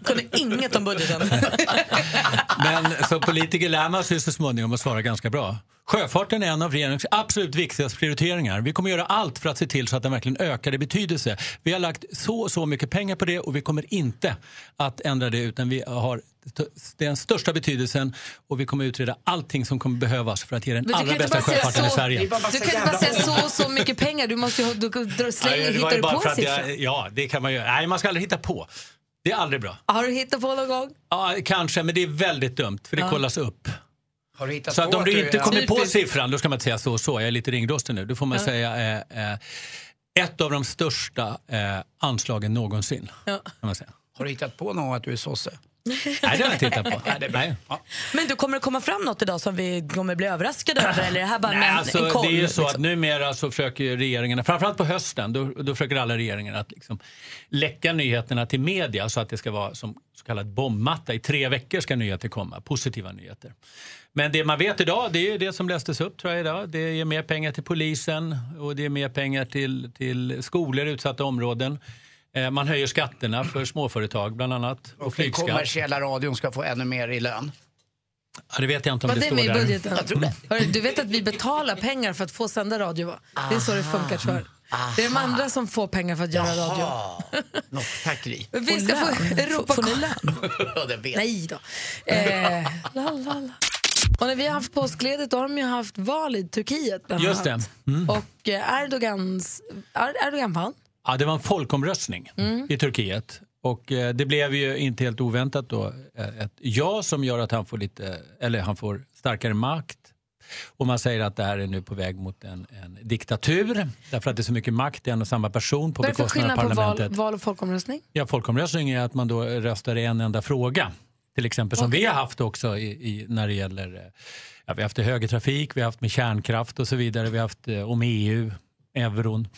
[SPEAKER 3] kunde inget om budgeten.
[SPEAKER 20] Men som politiker lär man sig så småningom att svara ganska bra. Sjöfarten är en av regeringens absolut viktigaste prioriteringar. Vi kommer göra allt för att se till så att den verkligen ökar i betydelse. Vi har lagt så och så mycket pengar på det och vi kommer inte att ändra det utan vi har t- den största betydelsen och vi kommer utreda allting som kommer behövas för att ge den
[SPEAKER 2] Men du kan
[SPEAKER 20] allra
[SPEAKER 2] ju inte
[SPEAKER 20] bästa
[SPEAKER 2] bara säga
[SPEAKER 20] sjöfarten i
[SPEAKER 2] så,
[SPEAKER 20] Sverige.
[SPEAKER 2] du kan inte bara säga så och så mycket pengar. Du måste ju ha- du, du, släng,
[SPEAKER 20] Ja, det var
[SPEAKER 2] hittar
[SPEAKER 20] ju
[SPEAKER 2] du
[SPEAKER 20] bara
[SPEAKER 2] på
[SPEAKER 20] för
[SPEAKER 2] en
[SPEAKER 20] att
[SPEAKER 2] siffra?
[SPEAKER 20] jag, Ja, det kan man göra. Nej, man ska aldrig hitta på. Det är aldrig bra.
[SPEAKER 2] Har du hittat på någon gång?
[SPEAKER 20] Ja, kanske, men det är väldigt dumt för det
[SPEAKER 2] Ja.
[SPEAKER 20] kollas upp.
[SPEAKER 4] Har du hittat
[SPEAKER 20] Så att
[SPEAKER 4] på
[SPEAKER 20] om du inte
[SPEAKER 4] ja.
[SPEAKER 20] kommer på siffran, då ska man inte säga så och så. Jag är lite ringrostig nu. Då får man
[SPEAKER 4] Ja.
[SPEAKER 20] säga eh, eh, ett av de största eh, anslagen någonsin. Kan man säga.
[SPEAKER 4] Har du hittat på någon att du är sosse?
[SPEAKER 20] Nej, det har jag inte hittat på.
[SPEAKER 4] Nej, det är bra.
[SPEAKER 20] Nej.
[SPEAKER 3] Men du kommer det komma fram något idag som vi kommer bli överraskade över? Eller är det här bara
[SPEAKER 20] Nej,
[SPEAKER 3] med
[SPEAKER 20] alltså,
[SPEAKER 3] en koll? liksom?
[SPEAKER 20] det är ju så
[SPEAKER 2] liksom.
[SPEAKER 20] att numera så försöker ju regeringarna, framförallt på hösten, då, då försöker alla regeringar att liksom läcka nyheterna till media så att det ska vara som så kallad bombmatta. I tre veckor ska nyheter komma, positiva nyheter. Men det man vet idag, det är ju det som lästes upp tror jag idag. Det ger mer pengar till polisen och det är mer pengar till, till skolor i utsatta områden. Eh, Man höjer skatterna för småföretag bland annat. Och,
[SPEAKER 4] Och den
[SPEAKER 20] flygskatt.
[SPEAKER 4] kommersiella radion ska få ännu mer i lön.
[SPEAKER 20] Ja, det vet jag inte om
[SPEAKER 2] Var
[SPEAKER 20] det,
[SPEAKER 2] det
[SPEAKER 20] står
[SPEAKER 2] med i
[SPEAKER 20] där.
[SPEAKER 2] budgeten? Hörru, du vet att vi betalar pengar för att få sända radio va? Det är så det funkar tror jag. Det är de andra som får pengar för att göra radio.
[SPEAKER 4] Något tackeri.
[SPEAKER 2] Vi ska få Europa...
[SPEAKER 4] Ja, det vet.
[SPEAKER 2] Nej då. Eh, la, la, la. Och när vi har haft påskledigt då har de ju haft val i Turkiet bland
[SPEAKER 20] Just det.
[SPEAKER 2] annat.
[SPEAKER 20] Mm.
[SPEAKER 2] Och eh, Erdogans... Er- Erdogan vann.
[SPEAKER 20] Ja, det var en folkomröstning
[SPEAKER 2] Mm.
[SPEAKER 20] i Turkiet. Och eh, det blev ju inte helt oväntat då eh, ett ja som gör att han får, lite, eller han får starkare makt. Och man säger att det här är nu på väg mot en, en diktatur. Därför att det är så mycket makt i en och samma person på
[SPEAKER 2] Vad är det för
[SPEAKER 20] bekostnad av
[SPEAKER 2] skillnad på val,
[SPEAKER 20] parlamentet.
[SPEAKER 2] val och folkomröstning?
[SPEAKER 20] Ja, folkomröstning är att man då röstar i en enda fråga. Till exempel som vi har haft också i, i, när det gäller, eh, ja, vi har haft det högertrafik, vi har haft med kärnkraft och så vidare, vi har haft eh, om EU, euron.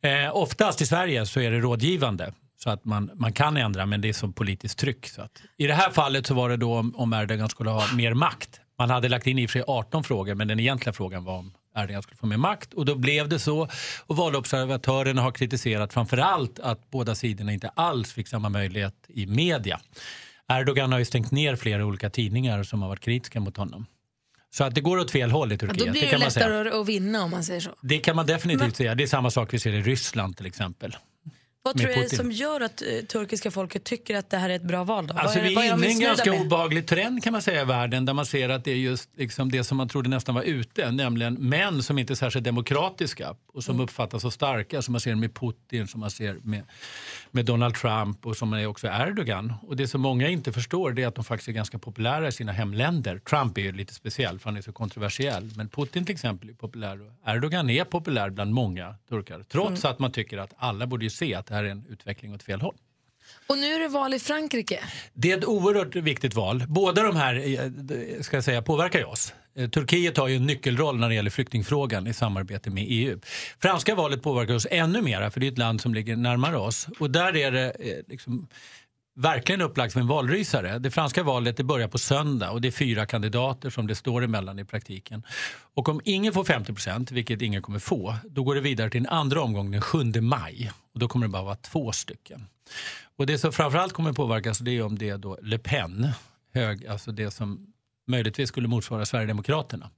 [SPEAKER 20] Eh, oftast i Sverige så är det rådgivande så att man, man kan ändra men det är som politiskt tryck. Så att, I det här fallet så var det då om, om Erdogan skulle ha mer makt. Man hade lagt in i och för sig 18 frågor men den egentliga frågan var om Erdogan skulle få mer makt och då blev det så. Och valobservatörerna har kritiserat framförallt att båda sidorna inte alls fick samma möjlighet i media. Erdogan har ju stängt ner flera olika tidningar som har varit kritiska mot honom. Så att det går åt fel håll i
[SPEAKER 2] Ja,
[SPEAKER 20] Turkiet.
[SPEAKER 2] då blir det,
[SPEAKER 20] kan man säga.
[SPEAKER 2] lättare att- att vinna om man säger så.
[SPEAKER 20] Det kan man definitivt säga. Det är samma sak vi ser i Ryssland till exempel.
[SPEAKER 3] Vad
[SPEAKER 20] med
[SPEAKER 3] tror du är det
[SPEAKER 20] Putin.
[SPEAKER 3] som gör att eh, turkiska folket tycker att det här är ett bra val? Då? Vad
[SPEAKER 20] Alltså,
[SPEAKER 3] är, det-
[SPEAKER 20] vi
[SPEAKER 3] vad är
[SPEAKER 20] är
[SPEAKER 3] de
[SPEAKER 20] inne i en
[SPEAKER 3] missnöjda
[SPEAKER 20] ganska
[SPEAKER 3] med?
[SPEAKER 20] obaglig trend kan man säga i världen där man ser att det är just liksom det som man trodde nästan var ute, nämligen män som inte är särskilt demokratiska och
[SPEAKER 3] Mm.
[SPEAKER 20] som uppfattas så starka som man ser med Putin, som man ser med, med Donald Trump och som är också Erdogan. Och det som många inte förstår det är att de faktiskt är ganska populära i sina hemländer. Trump är ju lite speciell för han är så kontroversiell. Men Putin till exempel är populär och Erdogan är populär bland många turkar. Trots
[SPEAKER 3] Mm.
[SPEAKER 20] att man tycker att alla borde ju se att det här är en utveckling åt fel håll.
[SPEAKER 2] Och nu är det val i Frankrike.
[SPEAKER 20] Det är ett oerhört viktigt val. Båda de här eh, d- ska jag säga, påverkar ju oss. Eh, Turkiet har ju en nyckelroll när det gäller flyktingfrågan i samarbete med EU. Franska valet påverkar oss ännu mer, för det är ett land som ligger närmare oss. Och där är det eh, liksom, verkligen upplagt som en valrysare. Det franska valet det börjar på söndag och det är fyra kandidater som det står emellan i praktiken. Och om ingen får 50 procent, vilket ingen kommer få, då går det vidare till en andra omgång den 7 maj. Och då kommer det bara vara två stycken. Och det som framförallt kommer påverkas det är om det är då Le Pen, hög, alltså det som möjligtvis skulle motsvara Sverigedemokraterna.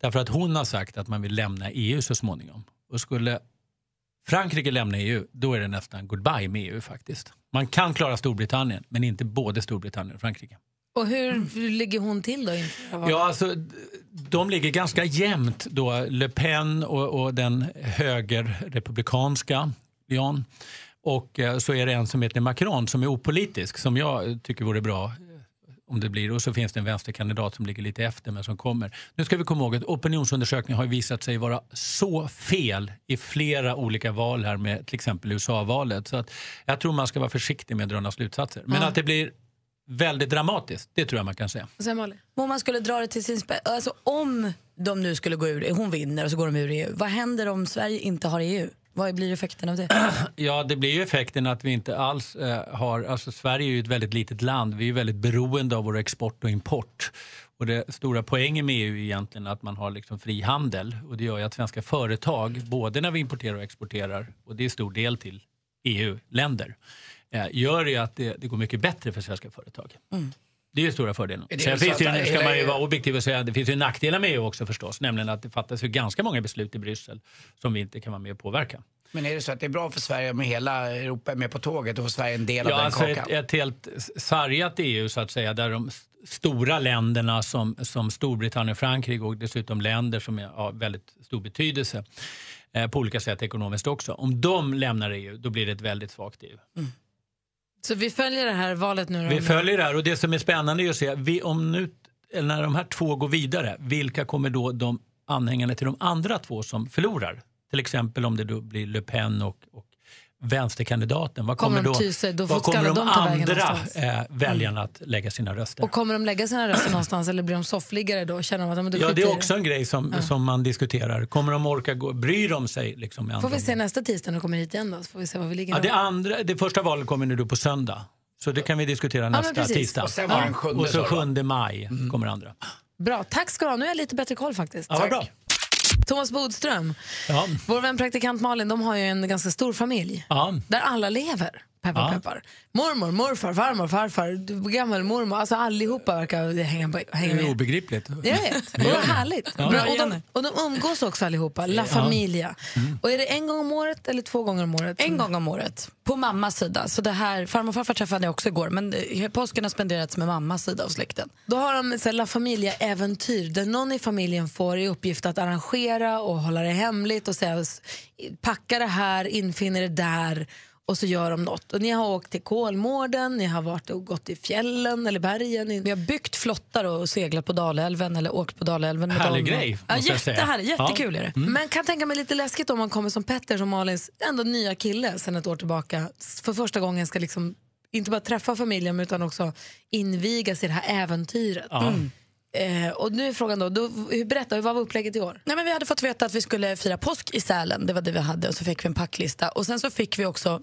[SPEAKER 20] Därför att hon har sagt att man vill lämna EU så småningom. Och skulle Frankrike lämnar EU, då är det nästan goodbye med EU faktiskt. Man kan klara Storbritannien, men inte både Storbritannien och Frankrike.
[SPEAKER 2] Och hur ligger hon till då? inför valet?
[SPEAKER 20] Ja, alltså, d- de ligger ganska jämnt då, Le Pen och, och den högerrepublikanska Lyon. Och eh, så är det en som heter Macron som är opolitisk, som jag eh, tycker vore bra om det blir. Och så finns det en vänsterkandidat som ligger lite efter men som kommer. Nu ska vi komma ihåg att opinionsundersökningar har ju visat sig vara så fel i flera olika val här med till exempel USA-valet. Så att jag tror man ska vara försiktig med att dra några slutsatser. Men att det blir väldigt dramatiskt, det tror jag man kan säga.
[SPEAKER 2] Vad säger Malin?
[SPEAKER 3] Men Om man skulle dra det till sin spe- alltså om de nu skulle gå ur, E hon vinner och så går de ur EU, vad händer om Sverige inte har EU? Vad blir effekten av det?
[SPEAKER 20] Ja, det blir ju effekten att vi inte alls eh, har... Alltså Sverige är ju ett väldigt litet land. Vi är ju väldigt beroende av vår export och import. Och det stora poängen med EU är egentligen att man har liksom fri handel. Och det gör ju att svenska företag, både när vi importerar och exporterar, och det är stor del till EU-länder, eh, gör ju att det, det går mycket bättre för svenska företag. Det är ju stora fördelen.
[SPEAKER 4] Det Mm. är
[SPEAKER 20] Sen
[SPEAKER 4] väl
[SPEAKER 20] finns
[SPEAKER 4] så
[SPEAKER 22] att
[SPEAKER 20] det, ju-
[SPEAKER 22] hela
[SPEAKER 20] ska man ju
[SPEAKER 22] EU
[SPEAKER 20] vara objektiv och säga att det finns ju nackdelar med EU också förstås. Nämligen att det fattas ju ganska många beslut i Bryssel som vi inte kan vara med och påverka.
[SPEAKER 4] Men är det så att det är bra för Sverige om hela Europa är med på tåget och får Sverige en del av
[SPEAKER 20] Ja,
[SPEAKER 4] den
[SPEAKER 20] alltså
[SPEAKER 4] kakan?
[SPEAKER 20] ett, ett helt s- sargat EU så att säga där de s- stora länderna som, som Storbritannien och Frankrike och dessutom länder som är av väldigt stor betydelse eh, på olika sätt ekonomiskt också. Om de lämnar EU då blir det ett väldigt svagt E EU.
[SPEAKER 2] Så vi följer det här valet nu. då?
[SPEAKER 20] Vi följer det här och det som är spännande är att se vi, om nu, eller när de här två går vidare, vilka kommer då de anhängarna till de andra två som förlorar? Till exempel om det då blir Le Pen och, och vänsterkandidaten. Vad
[SPEAKER 2] Kommer
[SPEAKER 20] kommer,
[SPEAKER 2] de
[SPEAKER 20] då,
[SPEAKER 2] ty sig? Då
[SPEAKER 20] vad
[SPEAKER 2] får-
[SPEAKER 20] kommer
[SPEAKER 2] ska
[SPEAKER 20] de
[SPEAKER 2] alla de ta vägen
[SPEAKER 20] andra
[SPEAKER 2] någonstans? Mm.
[SPEAKER 20] eh, väljarna att lägga sina röster?
[SPEAKER 2] Och kommer de lägga sina röster någonstans eller blir de soffliggare då? Känner de att, ja, men då
[SPEAKER 20] ja, det
[SPEAKER 2] skiter
[SPEAKER 20] är
[SPEAKER 2] jag i
[SPEAKER 20] också en grej som,
[SPEAKER 2] Ja.
[SPEAKER 20] som man diskuterar. Kommer de orka gå? Bryr de sig? Liksom, med
[SPEAKER 2] Får
[SPEAKER 20] andra
[SPEAKER 2] vi se nästa tisdag när du kommer hit igen då? Så får vi se var vi ligger
[SPEAKER 20] Ja,
[SPEAKER 2] då.
[SPEAKER 20] det, andra, det första valet kommer nu då på söndag. Så det kan vi diskutera
[SPEAKER 2] men
[SPEAKER 20] nästa
[SPEAKER 2] precis.
[SPEAKER 20] tisdag.
[SPEAKER 2] Och sen var det den sjunde, Mm.
[SPEAKER 20] Och
[SPEAKER 2] sa
[SPEAKER 20] så
[SPEAKER 2] du, va?
[SPEAKER 20] 7 maj kommer andra.
[SPEAKER 2] Bra, tack ska du ha. Nu är jag lite bättre koll faktiskt.
[SPEAKER 20] Ja, vad bra.
[SPEAKER 2] Thomas Bodström,
[SPEAKER 20] Ja.
[SPEAKER 2] vår vän praktikant Malin, de har ju en ganska stor familj.
[SPEAKER 20] Ja.
[SPEAKER 2] Där alla lever. Peppar,
[SPEAKER 20] Ja.
[SPEAKER 2] peppar. Mormor, morfar, farmor, farfar, gammelmormor. Alltså allihopa verkar hänga, på-
[SPEAKER 20] Det
[SPEAKER 2] hänga
[SPEAKER 20] är
[SPEAKER 2] med.
[SPEAKER 20] obegripligt.
[SPEAKER 2] Jag vet, och vad härligt.
[SPEAKER 20] Ja.
[SPEAKER 2] Men, och, de, och de umgås också allihopa, La
[SPEAKER 3] Ja.
[SPEAKER 2] Familia.
[SPEAKER 20] Mm.
[SPEAKER 2] Och är det en gång om året eller två gånger om året?
[SPEAKER 3] En gång om året, på mammas sida. Så det här, farmor och farfar träffade jag också igår, men eh, påsken har spenderats med mammas sida av släkten.
[SPEAKER 2] Då har de så här, La Familia-äventyr där någon i familjen får i uppgift att arrangera och hålla det hemligt och säga s- packa det här, infinner det där och så gör de något. Och ni har åkt till Kolmården, ni har varit och gått i fjällen eller bergen. Ni... Vi har
[SPEAKER 3] byggt flottar och seglat på Dalälven eller åkt på Dalälven med
[SPEAKER 20] Härlig
[SPEAKER 3] Dalmål.
[SPEAKER 20] grej,
[SPEAKER 3] Ja,
[SPEAKER 20] måste jag säga.
[SPEAKER 3] jättehärlig, jättekul
[SPEAKER 2] Ja.
[SPEAKER 3] är det.
[SPEAKER 2] Mm. Men kan tänka mig lite läskigt om man kommer som Petter, som Malins ändå nya kille sen ett år tillbaka, s- för första gången ska liksom inte bara träffa familjen utan också invigas i det här äventyret.
[SPEAKER 3] Ja.
[SPEAKER 2] Mm. Eh, och nu är frågan då, då hur- berätta, vad var upplägget i år?
[SPEAKER 3] Nej, men vi hade fått veta att vi skulle fira påsk i Sälen. Det var det vi hade. Och så fick vi en packlista. Och sen så fick vi också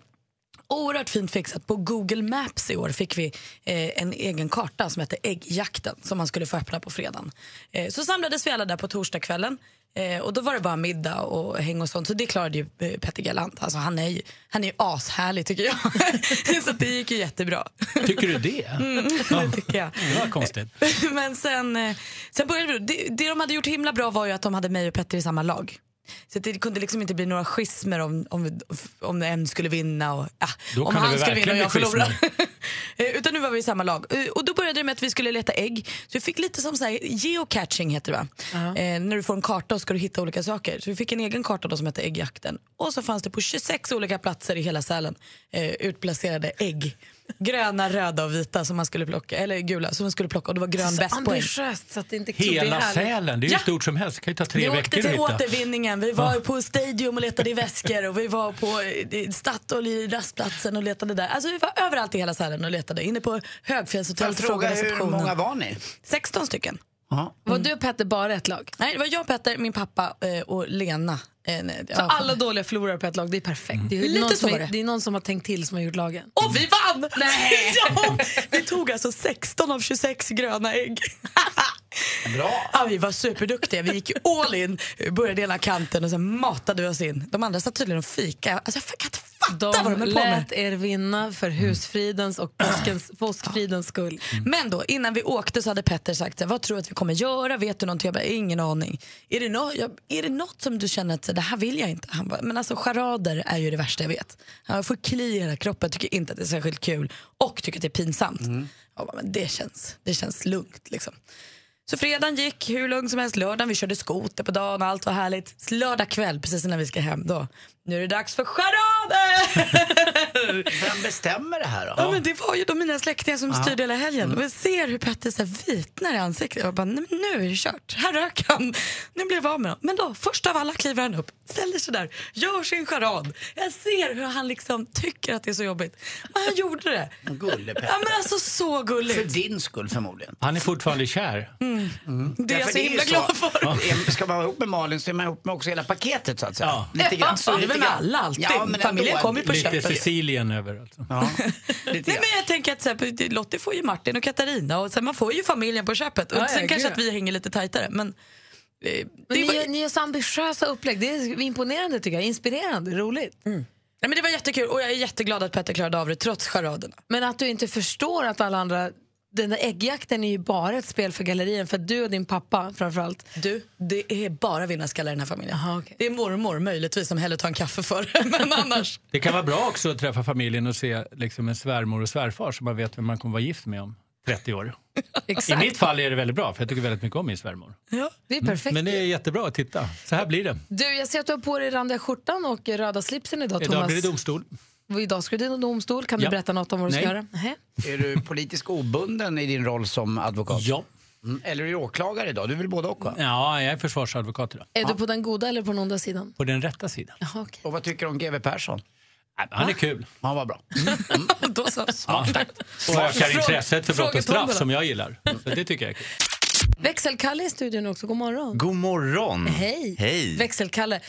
[SPEAKER 3] oerhört fint fixat på Google Maps i år fick vi eh, en egen karta som hette Äggjakten som man skulle få öppna på fredagen. Eh, så samlades vi alla där på torsdagskvällen eh, och då var det bara middag och häng och sånt. Så det klarade ju eh, Petter galant. Alltså, han, är ju, han är ju ashärlig tycker jag. så det gick ju jättebra.
[SPEAKER 20] Tycker du det?
[SPEAKER 3] Mm, det tycker jag.
[SPEAKER 20] Det var konstigt.
[SPEAKER 3] Men sen, eh, sen började vi. Det, det de hade gjort himla bra var ju att de hade mig och Petter i samma lag. Så att det kunde liksom inte bli några schismer om, om, om en skulle vinna och ja,
[SPEAKER 20] Då
[SPEAKER 3] om
[SPEAKER 20] kan det
[SPEAKER 3] han
[SPEAKER 20] väl
[SPEAKER 3] skulle vinna och
[SPEAKER 20] verkligen
[SPEAKER 3] jag
[SPEAKER 20] bli
[SPEAKER 3] förlorade. Eh, Utan nu var vi i samma lag. Eh, Och då började det med att vi skulle leta ägg. Så vi fick lite som så här, geocaching heter det va? Eh, när du får en karta och ska du hitta olika saker. Så vi fick en egen karta då som hette äggjakten. Och så fanns det på 26 olika platser i hela Sälen eh, utplacerade ägg. Gröna, röda och vita som man skulle plocka. Eller gula som man skulle plocka. Och det var grön
[SPEAKER 2] Så
[SPEAKER 3] bäst poäng.
[SPEAKER 2] ambitiöst så att det inte är klokt. Det är
[SPEAKER 20] Hela
[SPEAKER 2] härligt.
[SPEAKER 20] Sälen, det är ju
[SPEAKER 3] Ja.
[SPEAKER 20] stort som helst. Det kan ju ta tre
[SPEAKER 3] Vi
[SPEAKER 20] veckor
[SPEAKER 3] åkte till
[SPEAKER 20] att hitta.
[SPEAKER 3] återvinningen, vi var
[SPEAKER 20] Ja.
[SPEAKER 3] på Stadium och letade i väskor och vi var på eh, Statoil i rastplatsen och letade där. Alltså vi var överallt i hela Sälen och letade. Inne på Högfjällshotellet
[SPEAKER 4] Får jag fråga, hur många var ni?
[SPEAKER 3] 16 stycken. Mm.
[SPEAKER 2] Var du och Petter bara ett lag?
[SPEAKER 3] Nej, det var jag, Petter, min pappa eh, och Lena. Eh, nej,
[SPEAKER 2] Så
[SPEAKER 3] ja.
[SPEAKER 2] alla dåliga förlorare på ett lag, det är perfekt.
[SPEAKER 4] Mm.
[SPEAKER 2] Det, är ju
[SPEAKER 3] Lite
[SPEAKER 2] någon som
[SPEAKER 3] så
[SPEAKER 2] är,
[SPEAKER 3] var det.
[SPEAKER 2] det är någon som har tänkt till som har gjort lagen.
[SPEAKER 3] Och vi vann! Nej. ja, vi tog alltså 16 av 26 gröna ägg.
[SPEAKER 4] Bra.
[SPEAKER 3] Ja, vi var superduktiga. Vi gick ju all in, började ena kanten och sen matade vi oss in. De andra satt tydligen och fika. Alltså, jag kan inte fatta vad de
[SPEAKER 2] De
[SPEAKER 3] höll på med.
[SPEAKER 2] lät er vinna för husfridens och påskens,
[SPEAKER 4] Mm.
[SPEAKER 2] påskfridens skull.
[SPEAKER 3] Men då, innan vi åkte så hade Petter sagt så här, vad tror du att vi kommer göra? Vet du någonting? Jag bara, ingen aning. Är det, nå- jag, är det något som du känner att så, det här vill jag inte? Han bara, men alltså charader är ju det värsta jag vet. Han bara, Jag får kli i hela kroppen, tycker inte att det är särskilt kul och tycker att det är pinsamt. Jag bara, men det känns, det känns lugnt liksom. Så fredagen gick hur lugnt som helst. Lördagen vi körde skoter på dagen och allt var härligt. Så Lördag kväll, precis innan vi ska hem då. Nu är det dags för charader!
[SPEAKER 4] Vem bestämmer det här då?
[SPEAKER 3] Ja, men det var ju då mina släktingar som
[SPEAKER 4] Ja.
[SPEAKER 3] styrde hela helgen. Och jag ser hur Petter så här vitnar i ansiktet. Jag bara, "Nej, men nu är det kört. Här rök han. Nu blev vi av med honom. Men då, först av alla kliver han upp, ställer sig där, gör sin charad. Jag ser hur han liksom tycker att det är så jobbigt. Men han gjorde det.
[SPEAKER 4] Gulle Petter.
[SPEAKER 3] Ja, men alltså så gulligt.
[SPEAKER 4] För din skull förmodligen.
[SPEAKER 20] Han är fortfarande kär.
[SPEAKER 3] Det är jag
[SPEAKER 4] Därför
[SPEAKER 3] så
[SPEAKER 4] ju
[SPEAKER 3] himla glad för.
[SPEAKER 4] Är- Ska man vara ihop med Malin så är man ihop med också hela paketet så att säga.
[SPEAKER 3] Ja, så är det väl med alla alltid. Familjen kommer ju på
[SPEAKER 20] Lite
[SPEAKER 3] köpet.
[SPEAKER 20] Sicilien alltså. överallt.
[SPEAKER 3] Nej, men jag tänker att så här, Lottie får ju Martin och Katarina och sen man får ju familjen på köpet. Och
[SPEAKER 2] Ja, ja,
[SPEAKER 3] sen
[SPEAKER 2] gud,
[SPEAKER 3] kanske
[SPEAKER 2] ja.
[SPEAKER 3] att vi hänger lite tajtare. Men, eh, det
[SPEAKER 2] Men ni,
[SPEAKER 3] var-
[SPEAKER 2] gör- ni gör så ambitiösa upplägg. Det är imponerande tycker jag. Inspirerande, roligt.
[SPEAKER 3] Ja, men det var jättekul och jag är jätteglad att Petter klarade av det trots charaderna.
[SPEAKER 2] Men att du inte förstår att alla andra... Den där äggjakten är ju bara ett spel för gallerien för att du och din pappa framförallt.
[SPEAKER 3] Du, det är bara vinnarskallar i den här familjen. Det är mormor möjligtvis som hellre tar en kaffe för men annars.
[SPEAKER 20] Det kan vara bra också att träffa familjen och se liksom en svärmor och svärfar så man vet vem man kommer vara gift med om 30 år. I
[SPEAKER 2] Exakt.
[SPEAKER 20] mitt fall är det väldigt bra, för jag tycker väldigt mycket om min svärmor.
[SPEAKER 3] Ja,
[SPEAKER 2] det är perfekt.
[SPEAKER 20] Men det är jättebra att titta. Så här blir det.
[SPEAKER 2] Du, jag ser att du har på dig randiga skjortan och röda slipsen idag,
[SPEAKER 20] Idag
[SPEAKER 2] Thomas.
[SPEAKER 20] blir det domstol.
[SPEAKER 2] Idag ska du till domstol. Kan du
[SPEAKER 4] Ja.
[SPEAKER 2] berätta något om vad du ska
[SPEAKER 4] Nej.
[SPEAKER 2] göra? Nej.
[SPEAKER 4] Är du politisk obunden i din roll som advokat?
[SPEAKER 20] Ja.
[SPEAKER 4] Mm. Eller är du åklagare idag? Du vill både och va?
[SPEAKER 20] Ja, jag är försvarsadvokat idag.
[SPEAKER 2] Är du på den goda eller på den onda sidan?
[SPEAKER 20] På den rätta sidan.
[SPEAKER 4] Och vad tycker du om GW Persson?
[SPEAKER 20] Han är kul.
[SPEAKER 4] Han var bra.
[SPEAKER 3] Då så.
[SPEAKER 20] Ja. Och ökar intresset för brott och straff
[SPEAKER 2] Frågetombola.
[SPEAKER 20] som jag gillar. Så det tycker jag är kul.
[SPEAKER 2] Växelkalle i studion också. God morgon.
[SPEAKER 21] God morgon!
[SPEAKER 2] Hej.
[SPEAKER 21] Hej!
[SPEAKER 2] Växelkalle,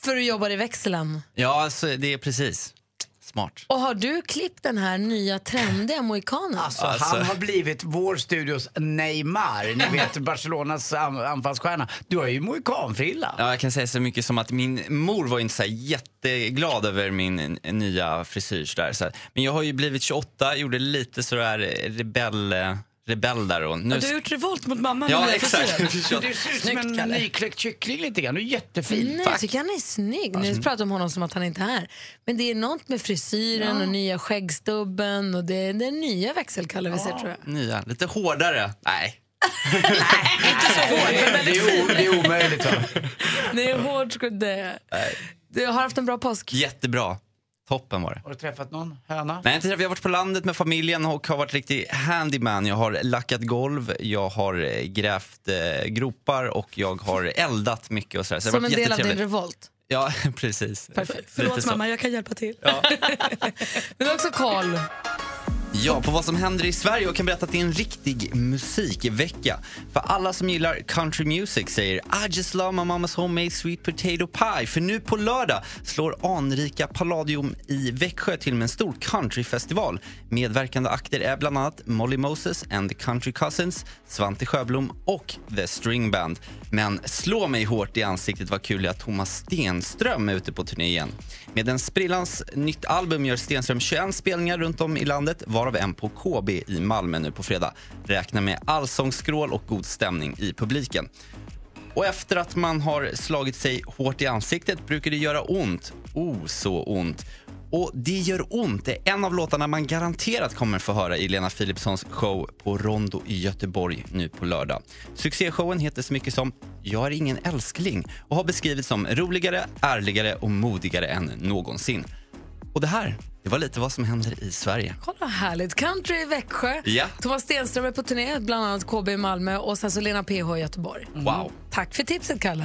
[SPEAKER 2] för du jobbar i växeln.
[SPEAKER 21] Ja, alltså, det är precis. Smart.
[SPEAKER 2] Och har du klippt den här nya trendiga mohikanen?
[SPEAKER 3] Alltså.
[SPEAKER 4] Så Han har blivit vår studios Neymar, ni vet Barcelonas an- anfallsstjärna. Du har ju mohikanfrilla.
[SPEAKER 21] Ja, jag kan säga så mycket som att min mor var inte så här jätteglad över min n- nya frisyr. Så där. Så, här, men jag har ju blivit 28, gjorde lite sådär eh, rebell, rebell där. Och nu,
[SPEAKER 3] Du har gjort revolt mot mamma
[SPEAKER 21] Ja,
[SPEAKER 3] med den här
[SPEAKER 21] exakt.
[SPEAKER 3] frisyren.
[SPEAKER 21] Du ser ut som
[SPEAKER 4] en nykläckt kyckling lite grann. Du är jättefin.
[SPEAKER 2] Nej, jag tycker han är snygg.
[SPEAKER 4] Alltså.
[SPEAKER 2] Nu pratar om honom som att han inte är här. Men det är något med frisyren och nya skäggstubben och det är den nya växelkalle vi ser tror jag.
[SPEAKER 21] nya, lite hårdare. Nej.
[SPEAKER 4] Det är, o- det är omöjligt. Va?
[SPEAKER 2] Det är hårt skulle det. Du har haft en bra påsk.
[SPEAKER 21] Jättebra. Toppen var det.
[SPEAKER 4] Har du träffat någon höna?
[SPEAKER 21] Nej, inte träffat. Jag har varit på landet med familjen och har varit riktig handyman. Jag har lackat golv, jag har eh, grävt eh, gropar och jag har eldat mycket. Och sådär. Så det har
[SPEAKER 2] Som en
[SPEAKER 21] varit
[SPEAKER 2] del av din
[SPEAKER 21] jättetrevligt.
[SPEAKER 2] revolt.
[SPEAKER 21] Ja, precis.
[SPEAKER 2] Perfekt.
[SPEAKER 21] Lite
[SPEAKER 3] Förlåt
[SPEAKER 21] så.
[SPEAKER 3] mamma, jag kan hjälpa till.
[SPEAKER 2] Men du har också koll.
[SPEAKER 21] Ja, på vad som händer i Sverige och kan berätta att det är en riktig musikvecka. För alla som gillar country music säger I just love my mama's homemade sweet potato pie. För nu på lördag slår anrika Palladium i Växjö till med en stor countryfestival. Medverkande akter är bland annat Molly Moses and the Country Cousins, Svante Sjöblom och The String Band. Men slå mig hårt i ansiktet vad kul det är att Thomas Stenström är ute på turné igen. Med en sprillans nytt album gör Stenström 21 spelningar runt om i landet varav en på KB i Malmö nu på fredag. Räkna med allsångsskrål och god stämning i publiken. Och efter att man har slagit sig hårt i ansiktet brukar det göra ont. Oh, så ont. Och Det gör ont är en av låtarna man garanterat kommer få höra i Lena Philipssons show på Rondo i Göteborg nu på lördag. Succéshowen heter så mycket som “Jag är ingen älskling” och har beskrivits som roligare, ärligare och modigare än någonsin. Och det här, det var lite vad som händer i Sverige.
[SPEAKER 2] Kolla vad härligt. Country i Växjö.
[SPEAKER 21] Ja.
[SPEAKER 2] Thomas Stenström är på turné, bland annat KB i Malmö och sen så Lena PH i Göteborg.
[SPEAKER 21] Wow.
[SPEAKER 2] Tack för tipset, Kalle.